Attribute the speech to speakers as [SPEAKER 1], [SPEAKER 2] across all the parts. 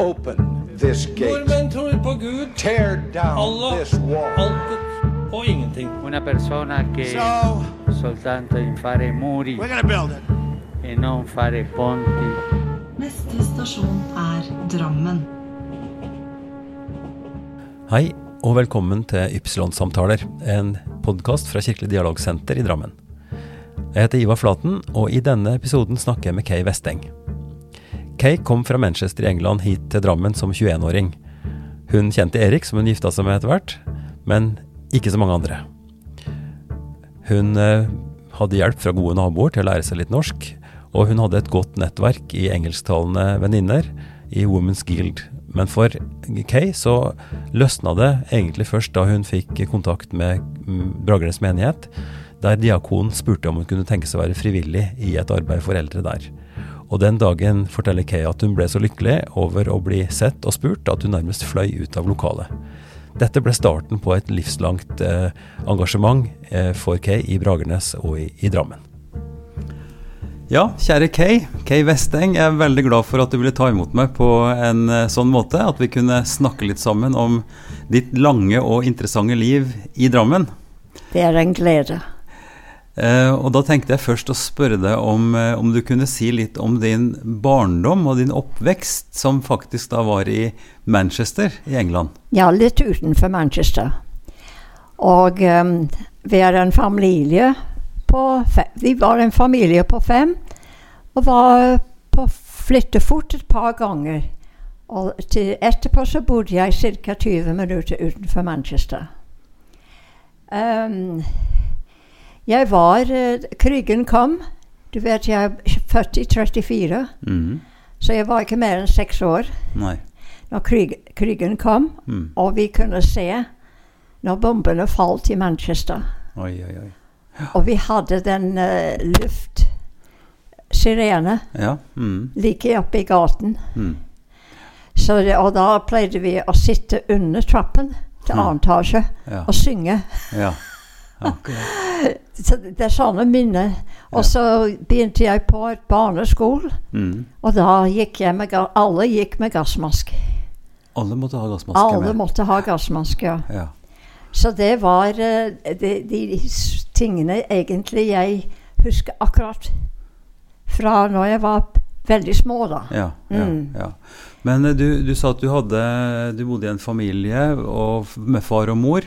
[SPEAKER 1] Open this gate.
[SPEAKER 2] Nordmenn tror på Gud,
[SPEAKER 1] Tear down
[SPEAKER 2] Allah,
[SPEAKER 1] this wall.
[SPEAKER 2] alt og ingenting.
[SPEAKER 3] Una persona che
[SPEAKER 4] So
[SPEAKER 3] soltanto in fare muri
[SPEAKER 4] we're gonna build it.
[SPEAKER 3] e non fare ponti.
[SPEAKER 5] Neste stasjon er Drammen.
[SPEAKER 6] Hei, og velkommen til Ypsilon-samtaler, en podkast fra Kirkelig dialogsenter i Drammen. Jeg heter Ivar Flaten, og i denne episoden snakker jeg med Kay Westeng. Kay kom fra Manchester i England hit til Drammen som 21-åring. Hun kjente Erik, som hun gifta seg med etter hvert, men ikke så mange andre. Hun eh, hadde hjelp fra gode naboer til å lære seg litt norsk, og hun hadde et godt nettverk i engelsktalende venninner i Women's Guild. Men for Kay så løsna det egentlig først da hun fikk kontakt med mm, Bragernes menighet, der diakonen spurte om hun kunne tenke seg å være frivillig i et arbeid for eldre der. Og den dagen forteller Kay at hun ble så lykkelig over å bli sett og spurt at hun nærmest fløy ut av lokalet. Dette ble starten på et livslangt eh, engasjement eh, for Kay i Bragernes og i, i Drammen.
[SPEAKER 7] Ja, kjære Kay. Kay Westeng, jeg er veldig glad for at du ville ta imot meg på en eh, sånn måte. At vi kunne snakke litt sammen om ditt lange og interessante liv i Drammen.
[SPEAKER 8] Det er en glede.
[SPEAKER 7] Eh, og da tenkte jeg først å spørre deg om, eh, om du kunne si litt om din barndom og din oppvekst, som faktisk da var i Manchester i England.
[SPEAKER 8] Ja, litt utenfor Manchester. Og um, vi er en familie på fe- Vi var en familie på fem, og var på flyttefot et par ganger. Og til etterpå så bodde jeg ca. 20 minutter utenfor Manchester. Um, jeg var eh, Krigen kom. Du vet, jeg er født i 34,
[SPEAKER 7] Mhm.
[SPEAKER 8] så jeg var ikke mer enn seks år.
[SPEAKER 7] Nei.
[SPEAKER 8] når krig, krigen kom,
[SPEAKER 7] Mm.
[SPEAKER 8] og vi kunne se når bombene falt i Manchester.
[SPEAKER 7] Oi, oi, oi.
[SPEAKER 8] Og vi hadde den eh, luftsirene
[SPEAKER 7] Ja. mhm.
[SPEAKER 8] like oppe i gaten.
[SPEAKER 7] Mm.
[SPEAKER 8] Så det, og da pleide vi å sitte under trappen til annen etasje
[SPEAKER 7] Mm. Ja.
[SPEAKER 8] og synge.
[SPEAKER 7] ja. Akkurat.
[SPEAKER 8] Så det er sånne minner.
[SPEAKER 7] Ja.
[SPEAKER 8] Og så begynte jeg på et barneskole,
[SPEAKER 7] Mhm.
[SPEAKER 8] og da gikk jeg med ga alle gikk med gassmaske.
[SPEAKER 7] Alle måtte ha gassmaske
[SPEAKER 8] Alle
[SPEAKER 7] med.
[SPEAKER 8] måtte ha gassmaske. ja.
[SPEAKER 7] Ja.
[SPEAKER 8] Så det var eh, de, de s- tingene egentlig jeg husker akkurat fra når jeg var p- veldig små, da.
[SPEAKER 7] Ja, ja,
[SPEAKER 8] Mm.
[SPEAKER 7] ja. Men eh, du, du sa at du, hadde, du bodde i en familie og, f- med far og mor.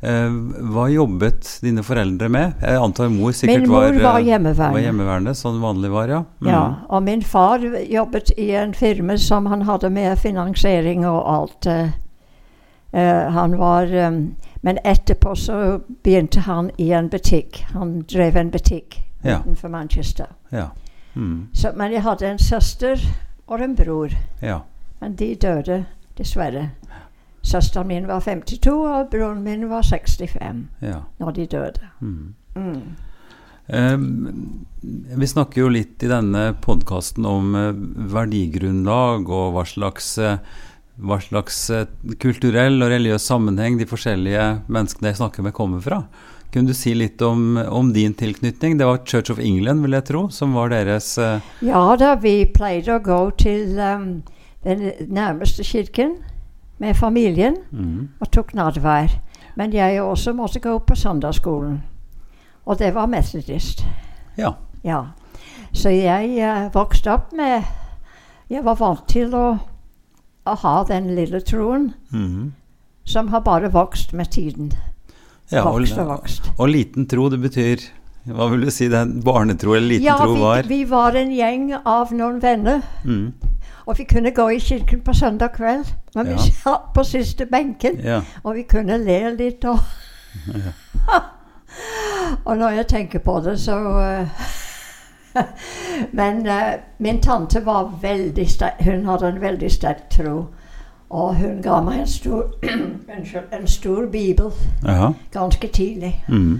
[SPEAKER 7] Eh, hva jobbet dine foreldre med? Jeg antar mor sikkert
[SPEAKER 8] Min mor
[SPEAKER 7] eh,
[SPEAKER 8] var hjemmeværende.
[SPEAKER 7] Var hjemmeværende, sånn vanlig var, ja. Mm.
[SPEAKER 8] Ja, og min far jobbet i en firma som han hadde med finansiering og alt. eh, eh, han var eh, Men etterpå så begynte han i en butikk. Han drev en butikk
[SPEAKER 7] Ja.
[SPEAKER 8] utenfor Manchester.
[SPEAKER 7] Ja. Mm.
[SPEAKER 8] Så, men jeg hadde en søster og en bror.
[SPEAKER 7] ja.
[SPEAKER 8] Men de døde, dessverre. Søsteren min var 52, og broren min var 65
[SPEAKER 7] ja.
[SPEAKER 8] når de døde.
[SPEAKER 7] Mm.
[SPEAKER 8] Mm.
[SPEAKER 7] Ehm, Vi snakker jo litt i denne podkasten om eh, verdigrunnlag og hva slags, eh, hva slags eh, kulturell og religiøs sammenheng de forskjellige menneskene jeg snakker med, kommer fra. Kunne du si litt om, om din tilknytning? Det var Church of England, vil jeg tro, som var deres eh,
[SPEAKER 8] Ja da, vi pleide å gå til um, den nærmeste kirken med familien
[SPEAKER 7] mm,
[SPEAKER 8] og tok nadvær. Men jeg også måtte gå på søndagsskolen. Og det var metodist.
[SPEAKER 7] Ja.
[SPEAKER 8] Ja. Så jeg eh, vokste opp med Jeg var vant til å, å ha den lille troen
[SPEAKER 7] mhm.
[SPEAKER 8] som har bare vokst med tiden.
[SPEAKER 7] ja og,
[SPEAKER 8] vokst og vokst.
[SPEAKER 7] og liten tro, det betyr Hva vil du si den barnetro eller liten
[SPEAKER 8] Ja,
[SPEAKER 7] tro var?
[SPEAKER 8] vi, vi var en gjeng av noen venner,
[SPEAKER 7] Mm,
[SPEAKER 8] og vi kunne gå i kirken på søndag kveld. Men
[SPEAKER 7] Ja.
[SPEAKER 8] vi satt på siste benken,
[SPEAKER 7] ja.
[SPEAKER 8] og vi kunne le litt og Og når jeg tenker på det, så eh, Men eh, min tante var veldig sterk. Hun hadde en veldig sterk tro. Og hun ga meg en stor, unnskyld, en stor bibel
[SPEAKER 7] Jaha.
[SPEAKER 8] ganske tidlig.
[SPEAKER 7] Mm.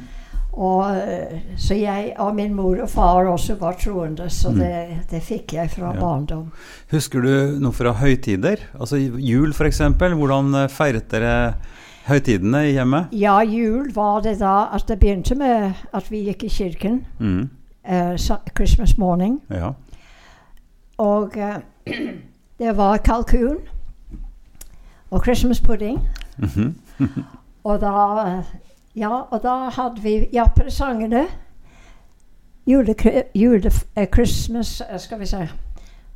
[SPEAKER 8] Og, eh, så jeg og min mor og far også var troende, så det, det fikk jeg fra
[SPEAKER 7] Ja.
[SPEAKER 8] barndom.
[SPEAKER 7] Husker du noe fra høytider? Altså jul f.eks. Hvordan eh, feiret dere høytidene i hjemmet?
[SPEAKER 8] Ja, jul var det da at det begynte med at vi gikk i kirken
[SPEAKER 7] Mm,
[SPEAKER 8] eh, sa- Christmas morning.
[SPEAKER 7] ja.
[SPEAKER 8] Og eh, Det var kalkun og Christmas pudding.
[SPEAKER 7] Mhm,
[SPEAKER 8] og da eh, Ja, og da hadde vi Ja, presangene. Jule, jule, eh, Christmas eh, Skal vi si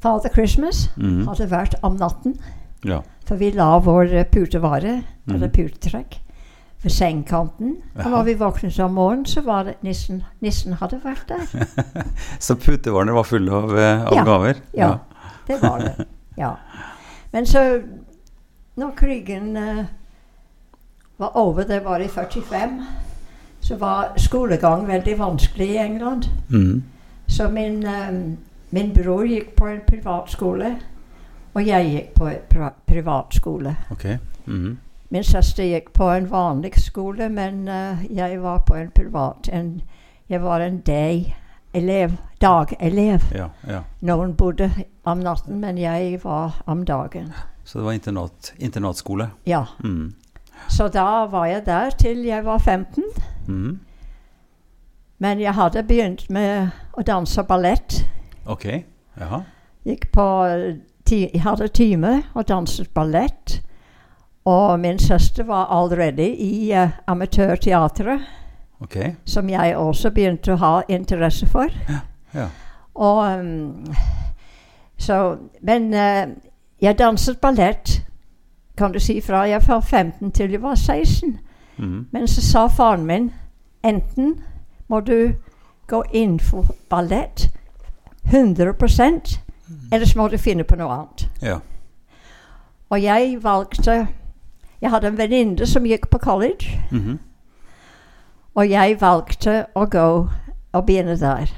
[SPEAKER 8] Father Christmas
[SPEAKER 7] Mhm.
[SPEAKER 8] hadde vært om natten.
[SPEAKER 7] Ja.
[SPEAKER 8] For vi la vår eh, putevare, eller
[SPEAKER 7] Mhm.
[SPEAKER 8] putetrekk, ved sengekanten. Og
[SPEAKER 7] Jaha.
[SPEAKER 8] når vi våknet om morgenen, så var det nissen. Nissen hadde vært der.
[SPEAKER 7] Så putevarene var fulle av, eh, av
[SPEAKER 8] Ja.
[SPEAKER 7] gaver?
[SPEAKER 8] Ja, det var det. Ja. Men så Når krigen eh, var over, det var i 45, så var skolegang veldig vanskelig i England.
[SPEAKER 7] Mhm.
[SPEAKER 8] Så min, eh, min bror gikk på en privatskole, og jeg gikk på en pri privatskole.
[SPEAKER 7] Ok. Mhm.
[SPEAKER 8] Min søster gikk på en vanlig skole, men eh, jeg var på en privat en, Jeg var en day-elev. Dagelev.
[SPEAKER 7] Ja, ja.
[SPEAKER 8] Noen bodde om natten, men jeg var om dagen.
[SPEAKER 7] Så det var internat, internatskole?
[SPEAKER 8] Ja,
[SPEAKER 7] Mhm.
[SPEAKER 8] Så da var jeg der til jeg var 15.
[SPEAKER 7] Mhm.
[SPEAKER 8] Men jeg hadde begynt med å danse ballett.
[SPEAKER 7] Ok. Jaha.
[SPEAKER 8] Gikk på, eh, ti, jeg hadde time og danset ballett. Og min søster var allerede i eh, amatørteatret,
[SPEAKER 7] Ok.
[SPEAKER 8] som jeg også begynte å ha interesse for.
[SPEAKER 7] Ja.
[SPEAKER 8] Og um, så Men eh, jeg danset ballett, kan du si, fra jeg var 15 til jeg var 16.
[SPEAKER 7] Mhm.
[SPEAKER 8] Men så sa faren min enten må du gå inn for ballett 100 ellers må du finne på noe annet.
[SPEAKER 7] Ja.
[SPEAKER 8] Og jeg valgte Jeg hadde en venninne som gikk på college,
[SPEAKER 7] Mhm.
[SPEAKER 8] og jeg valgte å gå og begynne der.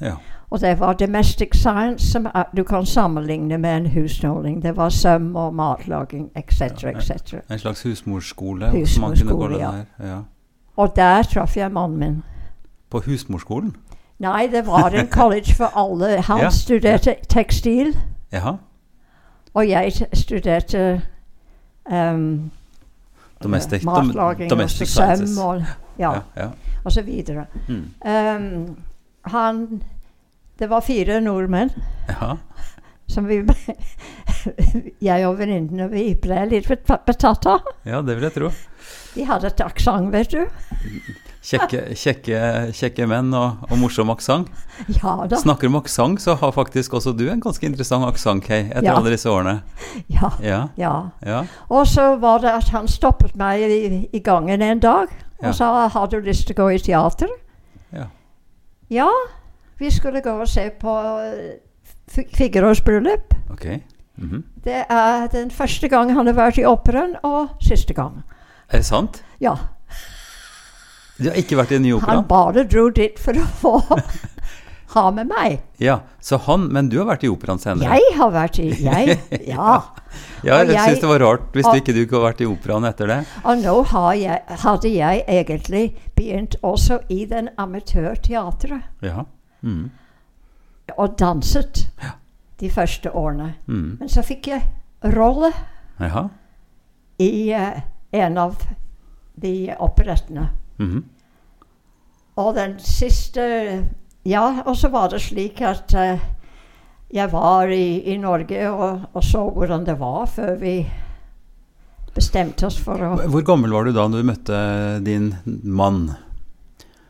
[SPEAKER 7] ja.
[SPEAKER 8] Og det var domestic science som er, du kan sammenligne med en husnåling. Det var søm og matlaging etc. etc.
[SPEAKER 7] En slags husmorskole? som man kunne gå
[SPEAKER 8] Husmorskole,
[SPEAKER 7] der. ja.
[SPEAKER 8] Og der traff jeg mannen min.
[SPEAKER 7] På husmorskolen?
[SPEAKER 8] Nei, det var en college for alle. Han
[SPEAKER 7] Ja.
[SPEAKER 8] studerte tekstil,
[SPEAKER 7] Jaha.
[SPEAKER 8] Eh, og jeg t- studerte um,
[SPEAKER 7] Domestic, dom-
[SPEAKER 8] matlaging
[SPEAKER 7] domestic
[SPEAKER 8] og så
[SPEAKER 7] sciences.
[SPEAKER 8] søm og, ja,
[SPEAKER 7] Ja, ja.
[SPEAKER 8] og så videre.
[SPEAKER 7] Mm.
[SPEAKER 8] Um, han Det var fire nordmenn
[SPEAKER 7] ja.
[SPEAKER 8] som vi Jeg og venninnene vi ble litt bet- betatt av.
[SPEAKER 7] Ja, det vil jeg tro.
[SPEAKER 8] De hadde et aksent, vet du.
[SPEAKER 7] Kjekke, kjekke, kjekke menn og, og morsom aksent.
[SPEAKER 8] Ja da.
[SPEAKER 7] Snakker om aksent, så har faktisk også du en ganske interessant aksent, Kay, etter
[SPEAKER 8] Ja.
[SPEAKER 7] alle disse årene.
[SPEAKER 8] Ja,
[SPEAKER 7] Ja,
[SPEAKER 8] ja.
[SPEAKER 7] ja.
[SPEAKER 8] Og så var det at han stoppet meg i, i gangen en dag
[SPEAKER 7] Ja.
[SPEAKER 8] og sa har du lyst til å gå i teater?
[SPEAKER 7] Ja.
[SPEAKER 8] Ja, vi skulle gå og se på eh, Fi- Figaros bryllup.
[SPEAKER 7] Ok. Mhm.
[SPEAKER 8] Det er den første gang han har vært i operaen, og siste gang.
[SPEAKER 7] Er det sant?
[SPEAKER 8] Ja.
[SPEAKER 7] Du har ikke vært i den nye operaen?
[SPEAKER 8] Han bare dro dit for å få ha med meg.
[SPEAKER 7] Ja, så han, men du har vært i operaen senere?
[SPEAKER 8] Jeg har vært i Jeg, ja.
[SPEAKER 7] Ja,
[SPEAKER 8] og
[SPEAKER 7] jeg
[SPEAKER 8] jeg-
[SPEAKER 7] syns det var rart hvis
[SPEAKER 8] og-
[SPEAKER 7] du ikke du ikke har vært i operaen etter det.
[SPEAKER 8] Og nå har jeg, hadde jeg egentlig begynt også i den amatørteatret
[SPEAKER 7] Ja. Mhm.
[SPEAKER 8] og danset de første årene.
[SPEAKER 7] Mhm.
[SPEAKER 8] Men så fikk jeg rolle
[SPEAKER 7] Jaha.
[SPEAKER 8] i eh, en av de operettene.
[SPEAKER 7] Mhm.
[SPEAKER 8] Og den siste Ja, og så var det slik at eh, jeg var i, i Norge og, og så hvordan det var før vi bestemte oss for å
[SPEAKER 7] Hvor gammel var du da du møtte din mann?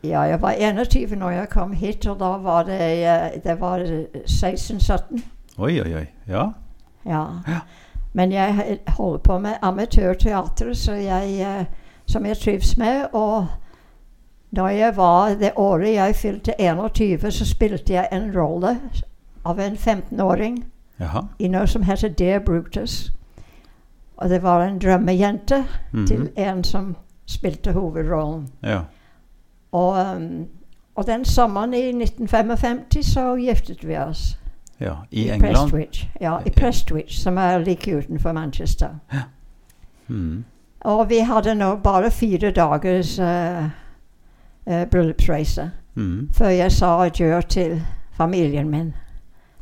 [SPEAKER 8] Ja, jeg var 21 når jeg kom hit, og da var det, eh, det var 16-17.
[SPEAKER 7] Oi, oi, oi. Ja.
[SPEAKER 8] Ja.
[SPEAKER 7] Ja.
[SPEAKER 8] Men jeg holder på med amatørteater, så jeg, eh, som jeg trives med. Og da jeg var det året jeg fylte 21, så spilte jeg en rolle av en 15-åring
[SPEAKER 7] Jaha.
[SPEAKER 8] i noe som heter Dear Brutus. Og det var en drømmejente
[SPEAKER 7] Mhm.
[SPEAKER 8] til en som spilte hovedrollen.
[SPEAKER 7] Ja.
[SPEAKER 8] Og, um, og den sommeren i 1955 så giftet vi oss.
[SPEAKER 7] ja. I England.
[SPEAKER 8] Prestwich. Ja, i
[SPEAKER 7] Ja.
[SPEAKER 8] Prestwich, som er like utenfor Manchester.
[SPEAKER 7] Mhm.
[SPEAKER 8] Og vi hadde nå bare fire dagers eh, eh, bryllupsreise
[SPEAKER 7] Mhm.
[SPEAKER 8] før jeg sa adjø til familien min.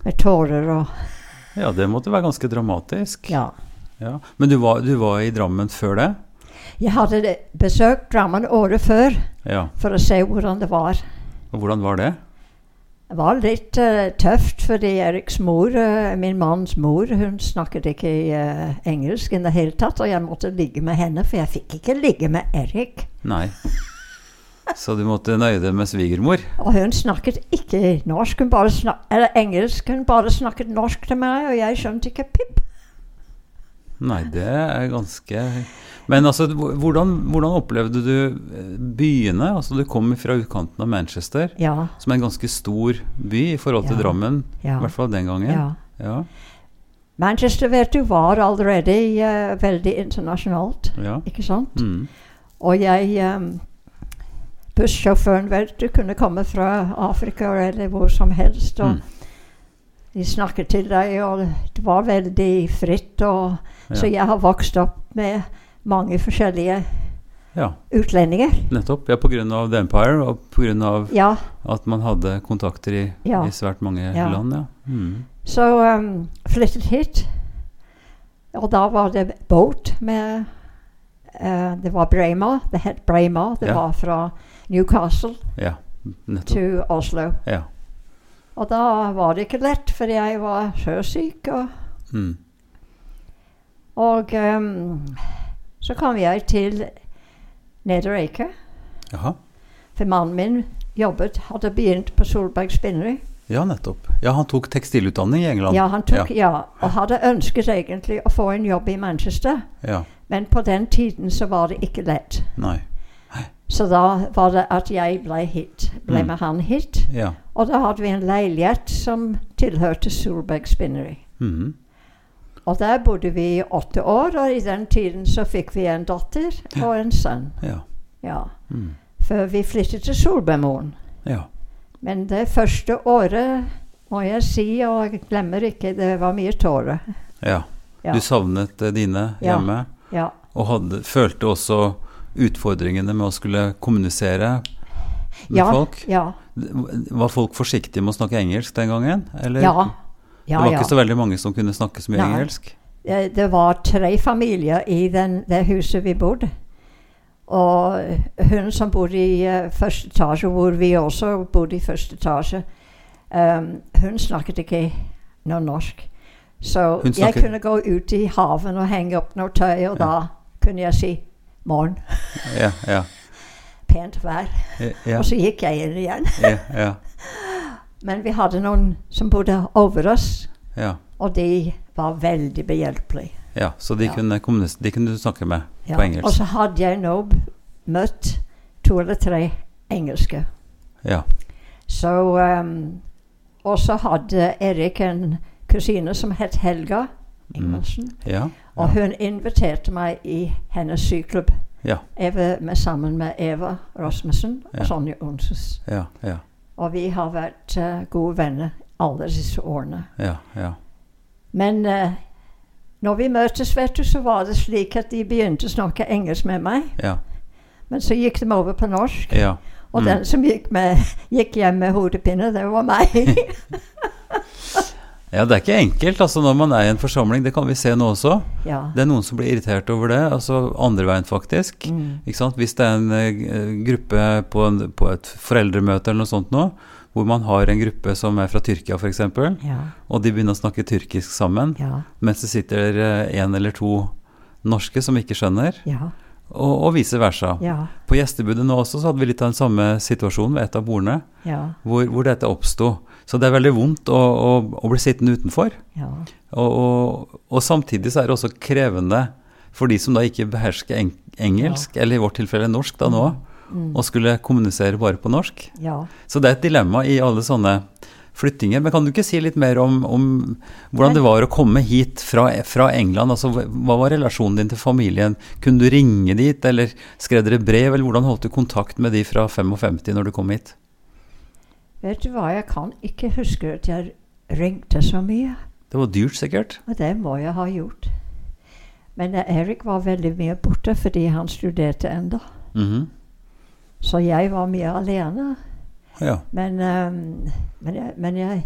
[SPEAKER 8] Med tårer og
[SPEAKER 7] Ja, det måtte være ganske dramatisk.
[SPEAKER 8] Ja.
[SPEAKER 7] Ja. Men du var, du var i Drammen før det?
[SPEAKER 8] Jeg hadde det- besøkt Drammen året før
[SPEAKER 7] Ja.
[SPEAKER 8] for å se hvordan det var.
[SPEAKER 7] Og hvordan var det?
[SPEAKER 8] Det var litt eh, tøft, fordi Eriks mor, eh, min manns mor, hun snakket ikke eh, engelsk i det hele tatt. Og jeg måtte ligge med henne, for jeg fikk ikke ligge med Erik.
[SPEAKER 7] Nei. Så du måtte nøye deg med svigermor?
[SPEAKER 8] Og hun snakket ikke norsk, hun bare snak eller engelsk. Hun bare snakket norsk til meg, og jeg skjønte ikke pip.
[SPEAKER 7] Nei, det er ganske Men altså, hvordan, hvordan opplevde du eh, byene? Altså, du kom fra utkanten av Manchester,
[SPEAKER 8] Ja,
[SPEAKER 7] som er en ganske stor by i forhold til
[SPEAKER 8] Ja.
[SPEAKER 7] Drammen,
[SPEAKER 8] ja.
[SPEAKER 7] i hvert fall den gangen.
[SPEAKER 8] ja.
[SPEAKER 7] Ja,
[SPEAKER 8] Manchester, vet du, var allerede eh, veldig internasjonalt,
[SPEAKER 7] ja.
[SPEAKER 8] ikke sant?
[SPEAKER 7] Mm.
[SPEAKER 8] Og jeg em, Bussjåføren vel, du kunne komme fra Afrika eller hvor som helst. Og
[SPEAKER 7] Mm.
[SPEAKER 8] De snakket til deg, og det var veldig fritt. Og, Så
[SPEAKER 7] Ja.
[SPEAKER 8] jeg har vokst opp med mange forskjellige
[SPEAKER 7] ja,
[SPEAKER 8] utlendinger.
[SPEAKER 7] nettopp. Ja, pga. The Empire, og pga.
[SPEAKER 8] Ja,
[SPEAKER 7] at man hadde kontakter i,
[SPEAKER 8] Ja.
[SPEAKER 7] i svært mange
[SPEAKER 8] Ja.
[SPEAKER 7] land. Ja. Mm.
[SPEAKER 8] Så em, flyttet hit. Og da var det båt med eh, Det var Bremer. Det het Bremer. Det
[SPEAKER 7] Ja.
[SPEAKER 8] var fra Newcastle
[SPEAKER 7] ja, nettopp.
[SPEAKER 8] til Oslo.
[SPEAKER 7] Ja.
[SPEAKER 8] Og da var det ikke lett, for jeg var sjøsyk. Og,
[SPEAKER 7] Mm.
[SPEAKER 8] og ehm, så kom jeg til Nedre Eiker,
[SPEAKER 7] Jaha.
[SPEAKER 8] for mannen min jobbet, hadde begynt på Solberg Spinneri.
[SPEAKER 7] Ja, nettopp. Ja, han tok tekstilutdanning i England.
[SPEAKER 8] Ja, han tok, ja. og hadde ønsket egentlig å få en jobb i Manchester,
[SPEAKER 7] Ja,
[SPEAKER 8] men på den tiden så var det ikke lett.
[SPEAKER 7] Nei.
[SPEAKER 8] Så da var det at jeg ble hit, ble
[SPEAKER 7] Mm.
[SPEAKER 8] med han hit.
[SPEAKER 7] Ja.
[SPEAKER 8] Og da hadde vi en leilighet som tilhørte Solberg Spinneri.
[SPEAKER 7] Mhm.
[SPEAKER 8] Og der bodde vi i åtte år, og i den tiden så fikk vi en datter og en sønn.
[SPEAKER 7] ja.
[SPEAKER 8] Ja.
[SPEAKER 7] Mm.
[SPEAKER 8] Før vi flyttet til Solbergmoen.
[SPEAKER 7] ja.
[SPEAKER 8] Men det første året må jeg si, og jeg glemmer ikke, det var mye tårer.
[SPEAKER 7] Ja.
[SPEAKER 8] Ja.
[SPEAKER 7] Du savnet eh, dine
[SPEAKER 8] Ja.
[SPEAKER 7] hjemme,
[SPEAKER 8] Ja.
[SPEAKER 7] og hadde, følte også utfordringene med å skulle kommunisere med
[SPEAKER 8] ja,
[SPEAKER 7] folk.
[SPEAKER 8] Ja.
[SPEAKER 7] Var folk forsiktige med å snakke engelsk den gangen? Eller?
[SPEAKER 8] Ja.
[SPEAKER 7] det
[SPEAKER 8] Ja,
[SPEAKER 7] var
[SPEAKER 8] ja.
[SPEAKER 7] ikke så veldig mange som kunne snakke så mye
[SPEAKER 8] Nei.
[SPEAKER 7] engelsk?
[SPEAKER 8] Eh, Det var tre familier i den, det huset vi bodde. Og hun som bodde i eh, første etasje, hvor vi også bodde i første etasje, ehm, hun snakket ikke noe norsk. Så
[SPEAKER 7] Hun
[SPEAKER 8] jeg
[SPEAKER 7] snakket-
[SPEAKER 8] kunne gå ut i haven og henge opp noe tøy, og da kunne jeg si 'morgen,
[SPEAKER 7] Ja, ja.
[SPEAKER 8] pent vær'.
[SPEAKER 7] Ja, ja,
[SPEAKER 8] Og så gikk jeg inn igjen.
[SPEAKER 7] ja, ja,
[SPEAKER 8] Men vi hadde noen som bodde over oss,
[SPEAKER 7] ja,
[SPEAKER 8] og de var veldig behjelpelige.
[SPEAKER 7] ja. Så de,
[SPEAKER 8] Ja.
[SPEAKER 7] Kunne kommunis- de kunne du snakke med
[SPEAKER 8] Ja,
[SPEAKER 7] på
[SPEAKER 8] Og
[SPEAKER 7] engelsk?
[SPEAKER 8] så hadde jeg nå b- møtt to eller tre engelske.
[SPEAKER 7] Ja.
[SPEAKER 8] Så, ehm, og så hadde Erik en kusine som het Helga Ingvaldsen.
[SPEAKER 7] Mm. ja.
[SPEAKER 8] Og hun inviterte meg i hennes syklubb.
[SPEAKER 7] Ja.
[SPEAKER 8] Eva, med, sammen med Eva Rasmussen og
[SPEAKER 7] Ja.
[SPEAKER 8] Sonja Onsus.
[SPEAKER 7] Ja, ja,
[SPEAKER 8] Og vi har vært eh, gode venner alle disse årene.
[SPEAKER 7] ja, ja.
[SPEAKER 8] Men eh, når vi møtes, vet du, så var det slik at de begynte å snakke engelsk med meg.
[SPEAKER 7] Ja.
[SPEAKER 8] Men så gikk de over på norsk.
[SPEAKER 7] ja.
[SPEAKER 8] Og
[SPEAKER 7] Mm.
[SPEAKER 8] den som gikk, med, gikk hjem med hodepine, det var meg.
[SPEAKER 7] Ja, det er ikke enkelt altså, når man er i en forsamling. Det kan vi se nå også.
[SPEAKER 8] ja.
[SPEAKER 7] Det er noen som blir irritert over det, altså andre veien faktisk.
[SPEAKER 8] Mm.
[SPEAKER 7] Ikke sant? Hvis det er en eh, g- gruppe på, en, på et foreldremøte eller noe sånt nå, hvor man har en gruppe som er fra Tyrkia f.eks.,
[SPEAKER 8] Ja.
[SPEAKER 7] og de begynner å snakke tyrkisk sammen,
[SPEAKER 8] Ja.
[SPEAKER 7] mens det sitter eh, en eller to norske som ikke skjønner,
[SPEAKER 8] Ja.
[SPEAKER 7] og, og vice versa.
[SPEAKER 8] Ja.
[SPEAKER 7] På gjestebudet nå også så hadde vi litt av den samme situasjonen ved et av bordene,
[SPEAKER 8] Ja.
[SPEAKER 7] hvor, hvor dette oppsto. Så det er veldig vondt å, å, å bli sittende utenfor.
[SPEAKER 8] Ja.
[SPEAKER 7] Og, og, og samtidig så er det også krevende for de som da ikke behersker eng engelsk, eller i vårt tilfelle norsk da nå, og skulle kommunisere bare på norsk.
[SPEAKER 8] ja.
[SPEAKER 7] Så det er et dilemma i alle sånne flyttinger. Men kan du ikke si litt mer om, om hvordan det var å komme hit fra, fra England? Altså, hva var relasjonen din til familien? Kunne du ringe dit, eller skrev dere brev, eller hvordan holdt du kontakt med de fra 55 når du kom hit?
[SPEAKER 8] Vet du hva, jeg kan ikke huske at jeg ringte så mye.
[SPEAKER 7] Det var dyrt, sikkert.
[SPEAKER 8] Og det må jeg ha gjort. Men eh, Erik var veldig mye borte fordi han studerte enda.
[SPEAKER 7] Mhm.
[SPEAKER 8] Så jeg var mye alene.
[SPEAKER 7] Ja.
[SPEAKER 8] Men, ehm, men, jeg, men jeg,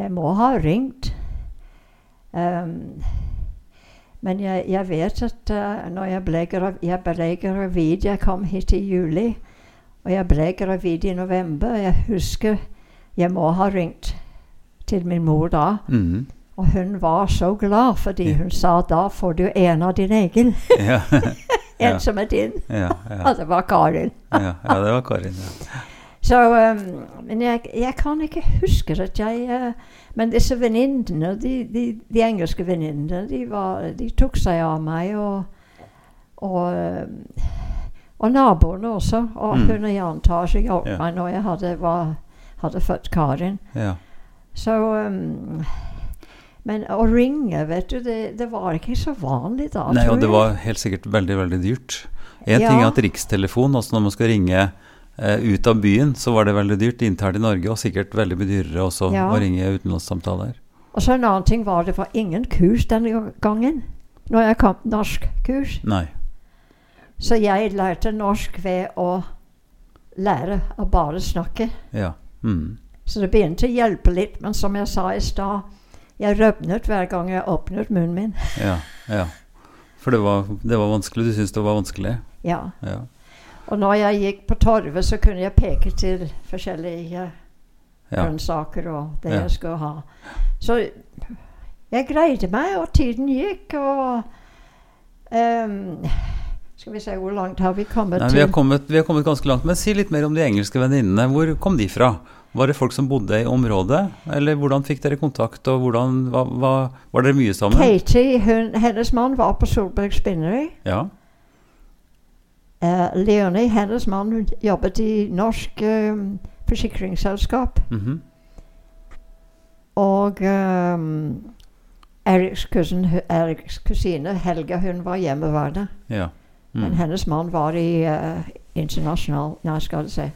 [SPEAKER 8] jeg må ha ringt. Ehm, men jeg, jeg vet at eh, når jeg ble, grav, jeg ble gravid Jeg kom hit i juli, og jeg ble gravid i november. Jeg husker Jeg må ha ringt til min mor da.
[SPEAKER 7] Mhm.
[SPEAKER 8] Og hun var så glad, fordi hun sa da får du en av din egen.
[SPEAKER 7] Ja,
[SPEAKER 8] En
[SPEAKER 7] Ja.
[SPEAKER 8] som er din.
[SPEAKER 7] ja, ja,
[SPEAKER 8] Og det var Karin.
[SPEAKER 7] ja, ja, det var Karin. Ja.
[SPEAKER 8] Så, øhm, men jeg, jeg kan ikke huske at jeg øh, Men disse venninnene, de, de, de engelske venninnene, de, var- de tok seg av meg. Og, og, øhm, og naboene også. Og
[SPEAKER 7] Mm.
[SPEAKER 8] hun og Jan Tasje hjalp
[SPEAKER 7] Ja.
[SPEAKER 8] meg når jeg hadde, var, hadde født Karin.
[SPEAKER 7] Ja.
[SPEAKER 8] Så øhm, Men å ringe, vet du, det, det var ikke så vanlig da,
[SPEAKER 7] Nei,
[SPEAKER 8] tror
[SPEAKER 7] og det
[SPEAKER 8] jeg.
[SPEAKER 7] var helt sikkert veldig, veldig dyrt. En ting er
[SPEAKER 8] Ja.
[SPEAKER 7] at rikstelefon, også når man skal ringe eh, ut av byen, så var det veldig dyrt internt i Norge, og sikkert veldig mye dyrere også
[SPEAKER 8] Ja.
[SPEAKER 7] å ringe utenlandssamtaler.
[SPEAKER 8] Og så en annen ting var det var ingen kurs denne gangen. Når jeg kom norskkurs.
[SPEAKER 7] Nei.
[SPEAKER 8] Så jeg lærte norsk ved å lære å bare snakke.
[SPEAKER 7] Ja. Mm.
[SPEAKER 8] Så det begynte å hjelpe litt. Men som jeg sa i stad, jeg rødmet hver gang jeg åpnet munnen min.
[SPEAKER 7] Ja. ja. For det var, det var vanskelig. Du syntes det var vanskelig?
[SPEAKER 8] Ja.
[SPEAKER 7] Ja.
[SPEAKER 8] Og når jeg gikk på torvet, så kunne jeg peke til forskjellige
[SPEAKER 7] ja.
[SPEAKER 8] grønnsaker og det
[SPEAKER 7] Ja.
[SPEAKER 8] jeg skulle ha. Så jeg greide meg, og tiden gikk, og ehm, Skal vi se, hvor langt har vi kommet
[SPEAKER 7] Nei, vi, har kommet, vi har kommet ganske langt. Men si litt mer om de engelske venninnene. Hvor kom de fra? Var det folk som bodde i området? Eller hvordan fikk dere kontakt, og hvordan, hva, hva, var dere mye sammen?
[SPEAKER 8] Katie, hun, hennes mann var på Solberg Spinneri.
[SPEAKER 7] Ja.
[SPEAKER 8] Eh, Leonie, hennes mann, hun jobbet i norsk ehm, forsikringsselskap.
[SPEAKER 7] mhm.
[SPEAKER 8] Og ehm, Eriks, kusin, Eriks kusine Helga, hun var hjemmeværende.
[SPEAKER 7] ja.
[SPEAKER 8] Men
[SPEAKER 7] Mm.
[SPEAKER 8] hennes mann var i eh, internasjonal Nei, skal du se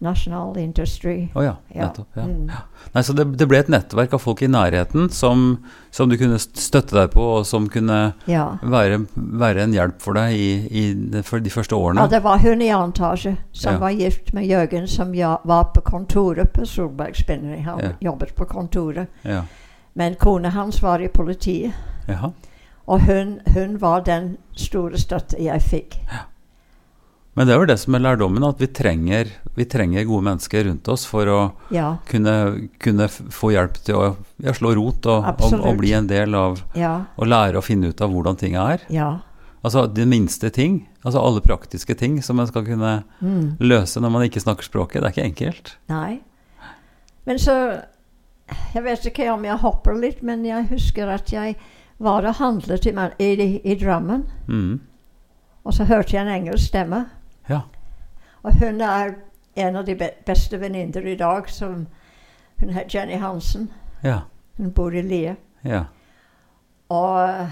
[SPEAKER 8] National Industry.
[SPEAKER 7] Å ja,
[SPEAKER 8] Ja.
[SPEAKER 7] nettopp. Ja.
[SPEAKER 8] Mm.
[SPEAKER 7] Nei, så det, det ble et nettverk av folk i nærheten som, som du kunne støtte deg på, og som kunne
[SPEAKER 8] ja.
[SPEAKER 7] være, være en hjelp for deg i, i det, for de første
[SPEAKER 8] ja,
[SPEAKER 7] årene.
[SPEAKER 8] det var hun i antasje som
[SPEAKER 7] Ja.
[SPEAKER 8] var gift med Jørgen, som ja, var på kontoret på Solberg Spinneri. Han
[SPEAKER 7] Ja.
[SPEAKER 8] jobbet på kontoret.
[SPEAKER 7] Ja.
[SPEAKER 8] Men kona hans var i politiet,
[SPEAKER 7] Jaha.
[SPEAKER 8] og hun, hun var den store støtte jeg fikk.
[SPEAKER 7] Men det er jo det som er lærdommen, at vi trenger, vi trenger gode mennesker rundt oss for å
[SPEAKER 8] Ja,
[SPEAKER 7] kunne, kunne f- få hjelp til å ja, slå rot og, og,
[SPEAKER 8] Absolutt.
[SPEAKER 7] og bli en del av
[SPEAKER 8] ja,
[SPEAKER 7] å lære å finne ut av hvordan ting er.
[SPEAKER 8] ja.
[SPEAKER 7] Altså de minste ting, altså alle praktiske ting som man skal kunne
[SPEAKER 8] Mm,
[SPEAKER 7] løse når man ikke snakker språket. Det er ikke enkelt.
[SPEAKER 8] nei. Men så Jeg vet ikke om jeg hopper litt, men jeg husker at jeg var og handlet i, Mal- i, i Drammen,
[SPEAKER 7] Mm.
[SPEAKER 8] og så hørte jeg en engelsk stemme.
[SPEAKER 7] Ja.
[SPEAKER 8] Og hun er en av de be beste venninner i dag, som hun het Jenny Hansen.
[SPEAKER 7] Ja.
[SPEAKER 8] Hun bor i Lie.
[SPEAKER 7] Ja.
[SPEAKER 8] Og,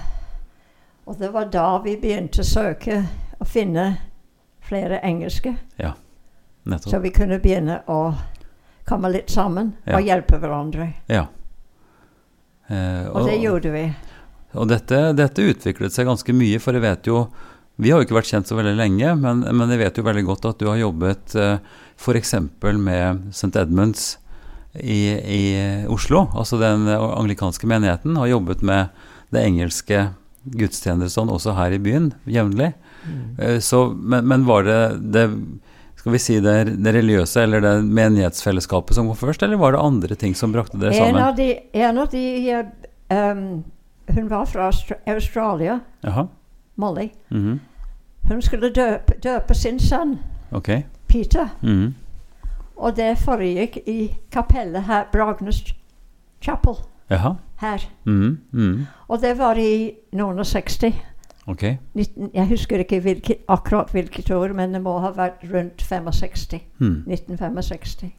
[SPEAKER 8] og det var da vi begynte å søke å finne flere engelske, så
[SPEAKER 7] Nettopp.
[SPEAKER 8] vi kunne begynne å komme litt sammen
[SPEAKER 7] Ja.
[SPEAKER 8] og hjelpe hverandre.
[SPEAKER 7] Ja. Eh,
[SPEAKER 8] Og det gjorde vi.
[SPEAKER 7] Og dette, dette utviklet seg ganske mye, for jeg vet jo Vi har jo ikke vært kjent så veldig lenge, men, men jeg vet jo veldig godt at du har jobbet f.eks. med St. Edmunds i, i Oslo. Altså den anglikanske menigheten har jobbet med det engelske gudstjenestene også her i byen jevnlig. Eh, Så, men, men var det det skal vi si det, det religiøse eller det menighetsfellesskapet som kom først, eller var det andre ting som brakte dere
[SPEAKER 8] En
[SPEAKER 7] sammen?
[SPEAKER 8] av de, en av de eh, em, Hun var fra Austra- Australia,
[SPEAKER 7] Jaha.
[SPEAKER 8] Molly.
[SPEAKER 7] Mhm.
[SPEAKER 8] Hun skulle døpe, døpe sin sønn,
[SPEAKER 7] Ok.
[SPEAKER 8] Peter.
[SPEAKER 7] Mhm.
[SPEAKER 8] Og det foregikk i kapellet her, Bragnes Chapel
[SPEAKER 7] Jaha.
[SPEAKER 8] her.
[SPEAKER 7] Mm, mm,
[SPEAKER 8] Og det var i noen og 60.
[SPEAKER 7] ok.
[SPEAKER 8] 19, jeg husker ikke hvilket, akkurat hvilket år, men det må ha vært rundt 65.
[SPEAKER 7] Mm.
[SPEAKER 8] 1965.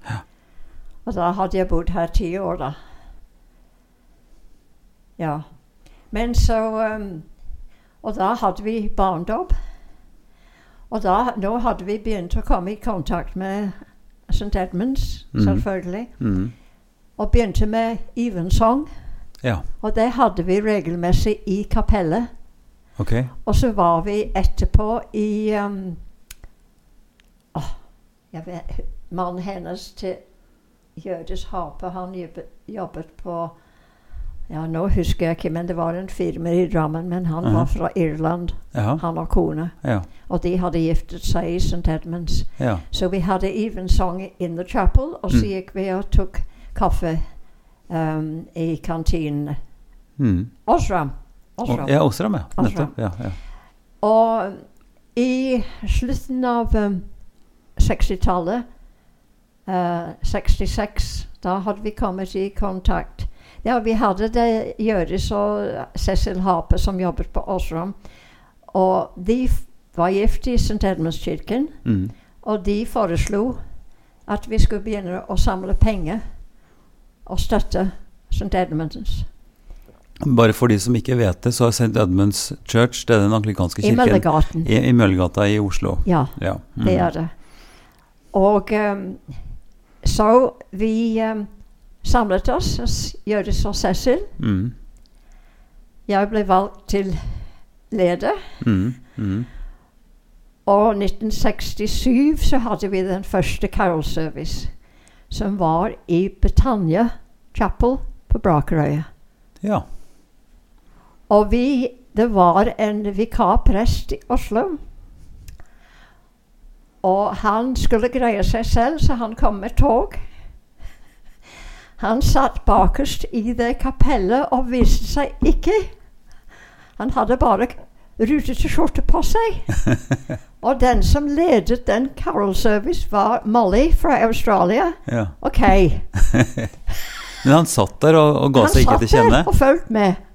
[SPEAKER 8] Og da hadde jeg bodd her ti år, da. Ja. Men så um, Og da hadde vi barndom. Og da, nå hadde vi begynt å komme i kontakt med St. Edmunds,
[SPEAKER 7] Mhm.
[SPEAKER 8] selvfølgelig.
[SPEAKER 7] Mm.
[SPEAKER 8] Og begynte med Evensong.
[SPEAKER 7] Ja,
[SPEAKER 8] Og det hadde vi regelmessig i kapellet.
[SPEAKER 7] ok.
[SPEAKER 8] Og så var vi etterpå i um, åh, jeg vet, Mannen hennes til Hjørdis Harpe, han jobbet, jobbet på Ja, nå husker jeg ikke, men det var en firma i Drammen. Men han
[SPEAKER 7] Mhm.
[SPEAKER 8] var fra Irland,
[SPEAKER 7] Ja,
[SPEAKER 8] han og kona.
[SPEAKER 7] ja,
[SPEAKER 8] Og de hadde giftet seg i St. Edmunds.
[SPEAKER 7] ja.
[SPEAKER 8] Så vi hadde evensong in the chapel, og så
[SPEAKER 7] Mm.
[SPEAKER 8] gikk vi og tok kaffe um, i kantinen.
[SPEAKER 7] Mm.
[SPEAKER 8] Osram.
[SPEAKER 7] Og,
[SPEAKER 8] Osram.
[SPEAKER 7] ja, Åsram, ja.
[SPEAKER 8] Åsram.
[SPEAKER 7] Nettopp. Ja, ja.
[SPEAKER 8] Og i slutten av um, 60-tallet, eh, 66, da hadde vi kommet i kontakt. Ja, vi hadde det Gjøris og Cecil Harpe som jobbet på Åsram. Og de f- var gift i St. Edmundskirken,
[SPEAKER 7] Mm.
[SPEAKER 8] og de foreslo at vi skulle begynne å samle penger og støtte St. Edmunds
[SPEAKER 7] Mm. Bare for de som ikke vet det, så er St. Edmunds Church det er den anglikanske
[SPEAKER 8] i
[SPEAKER 7] kirken
[SPEAKER 8] Møllegaten.
[SPEAKER 7] i, i Møllergata i Oslo.
[SPEAKER 8] Ja.
[SPEAKER 7] Ja. Mm.
[SPEAKER 8] Det er det. Og ehm, så vi ehm, samlet oss, s- Hjøris og Cecil.
[SPEAKER 7] Mm.
[SPEAKER 8] Jeg ble valgt til leder.
[SPEAKER 7] Mm. Mm.
[SPEAKER 8] Og 1967 så hadde vi den første Carol Service, som var i Betania Chapel på Brakerøya.
[SPEAKER 7] Ja.
[SPEAKER 8] Og vi, det var en vikarprest i Oslo. Og han skulle greie seg selv, så han kom med tog. Han satt bakerst i det kapellet og viste seg ikke. Han hadde bare k- rutete skjorte på seg. og den som ledet den Carol Service, var Molly fra Australia.
[SPEAKER 7] ja.
[SPEAKER 8] OK.
[SPEAKER 7] Men han satt der og, og ga
[SPEAKER 8] Han
[SPEAKER 7] seg ikke
[SPEAKER 8] satt
[SPEAKER 7] til kjenne.
[SPEAKER 8] der og fulgte med.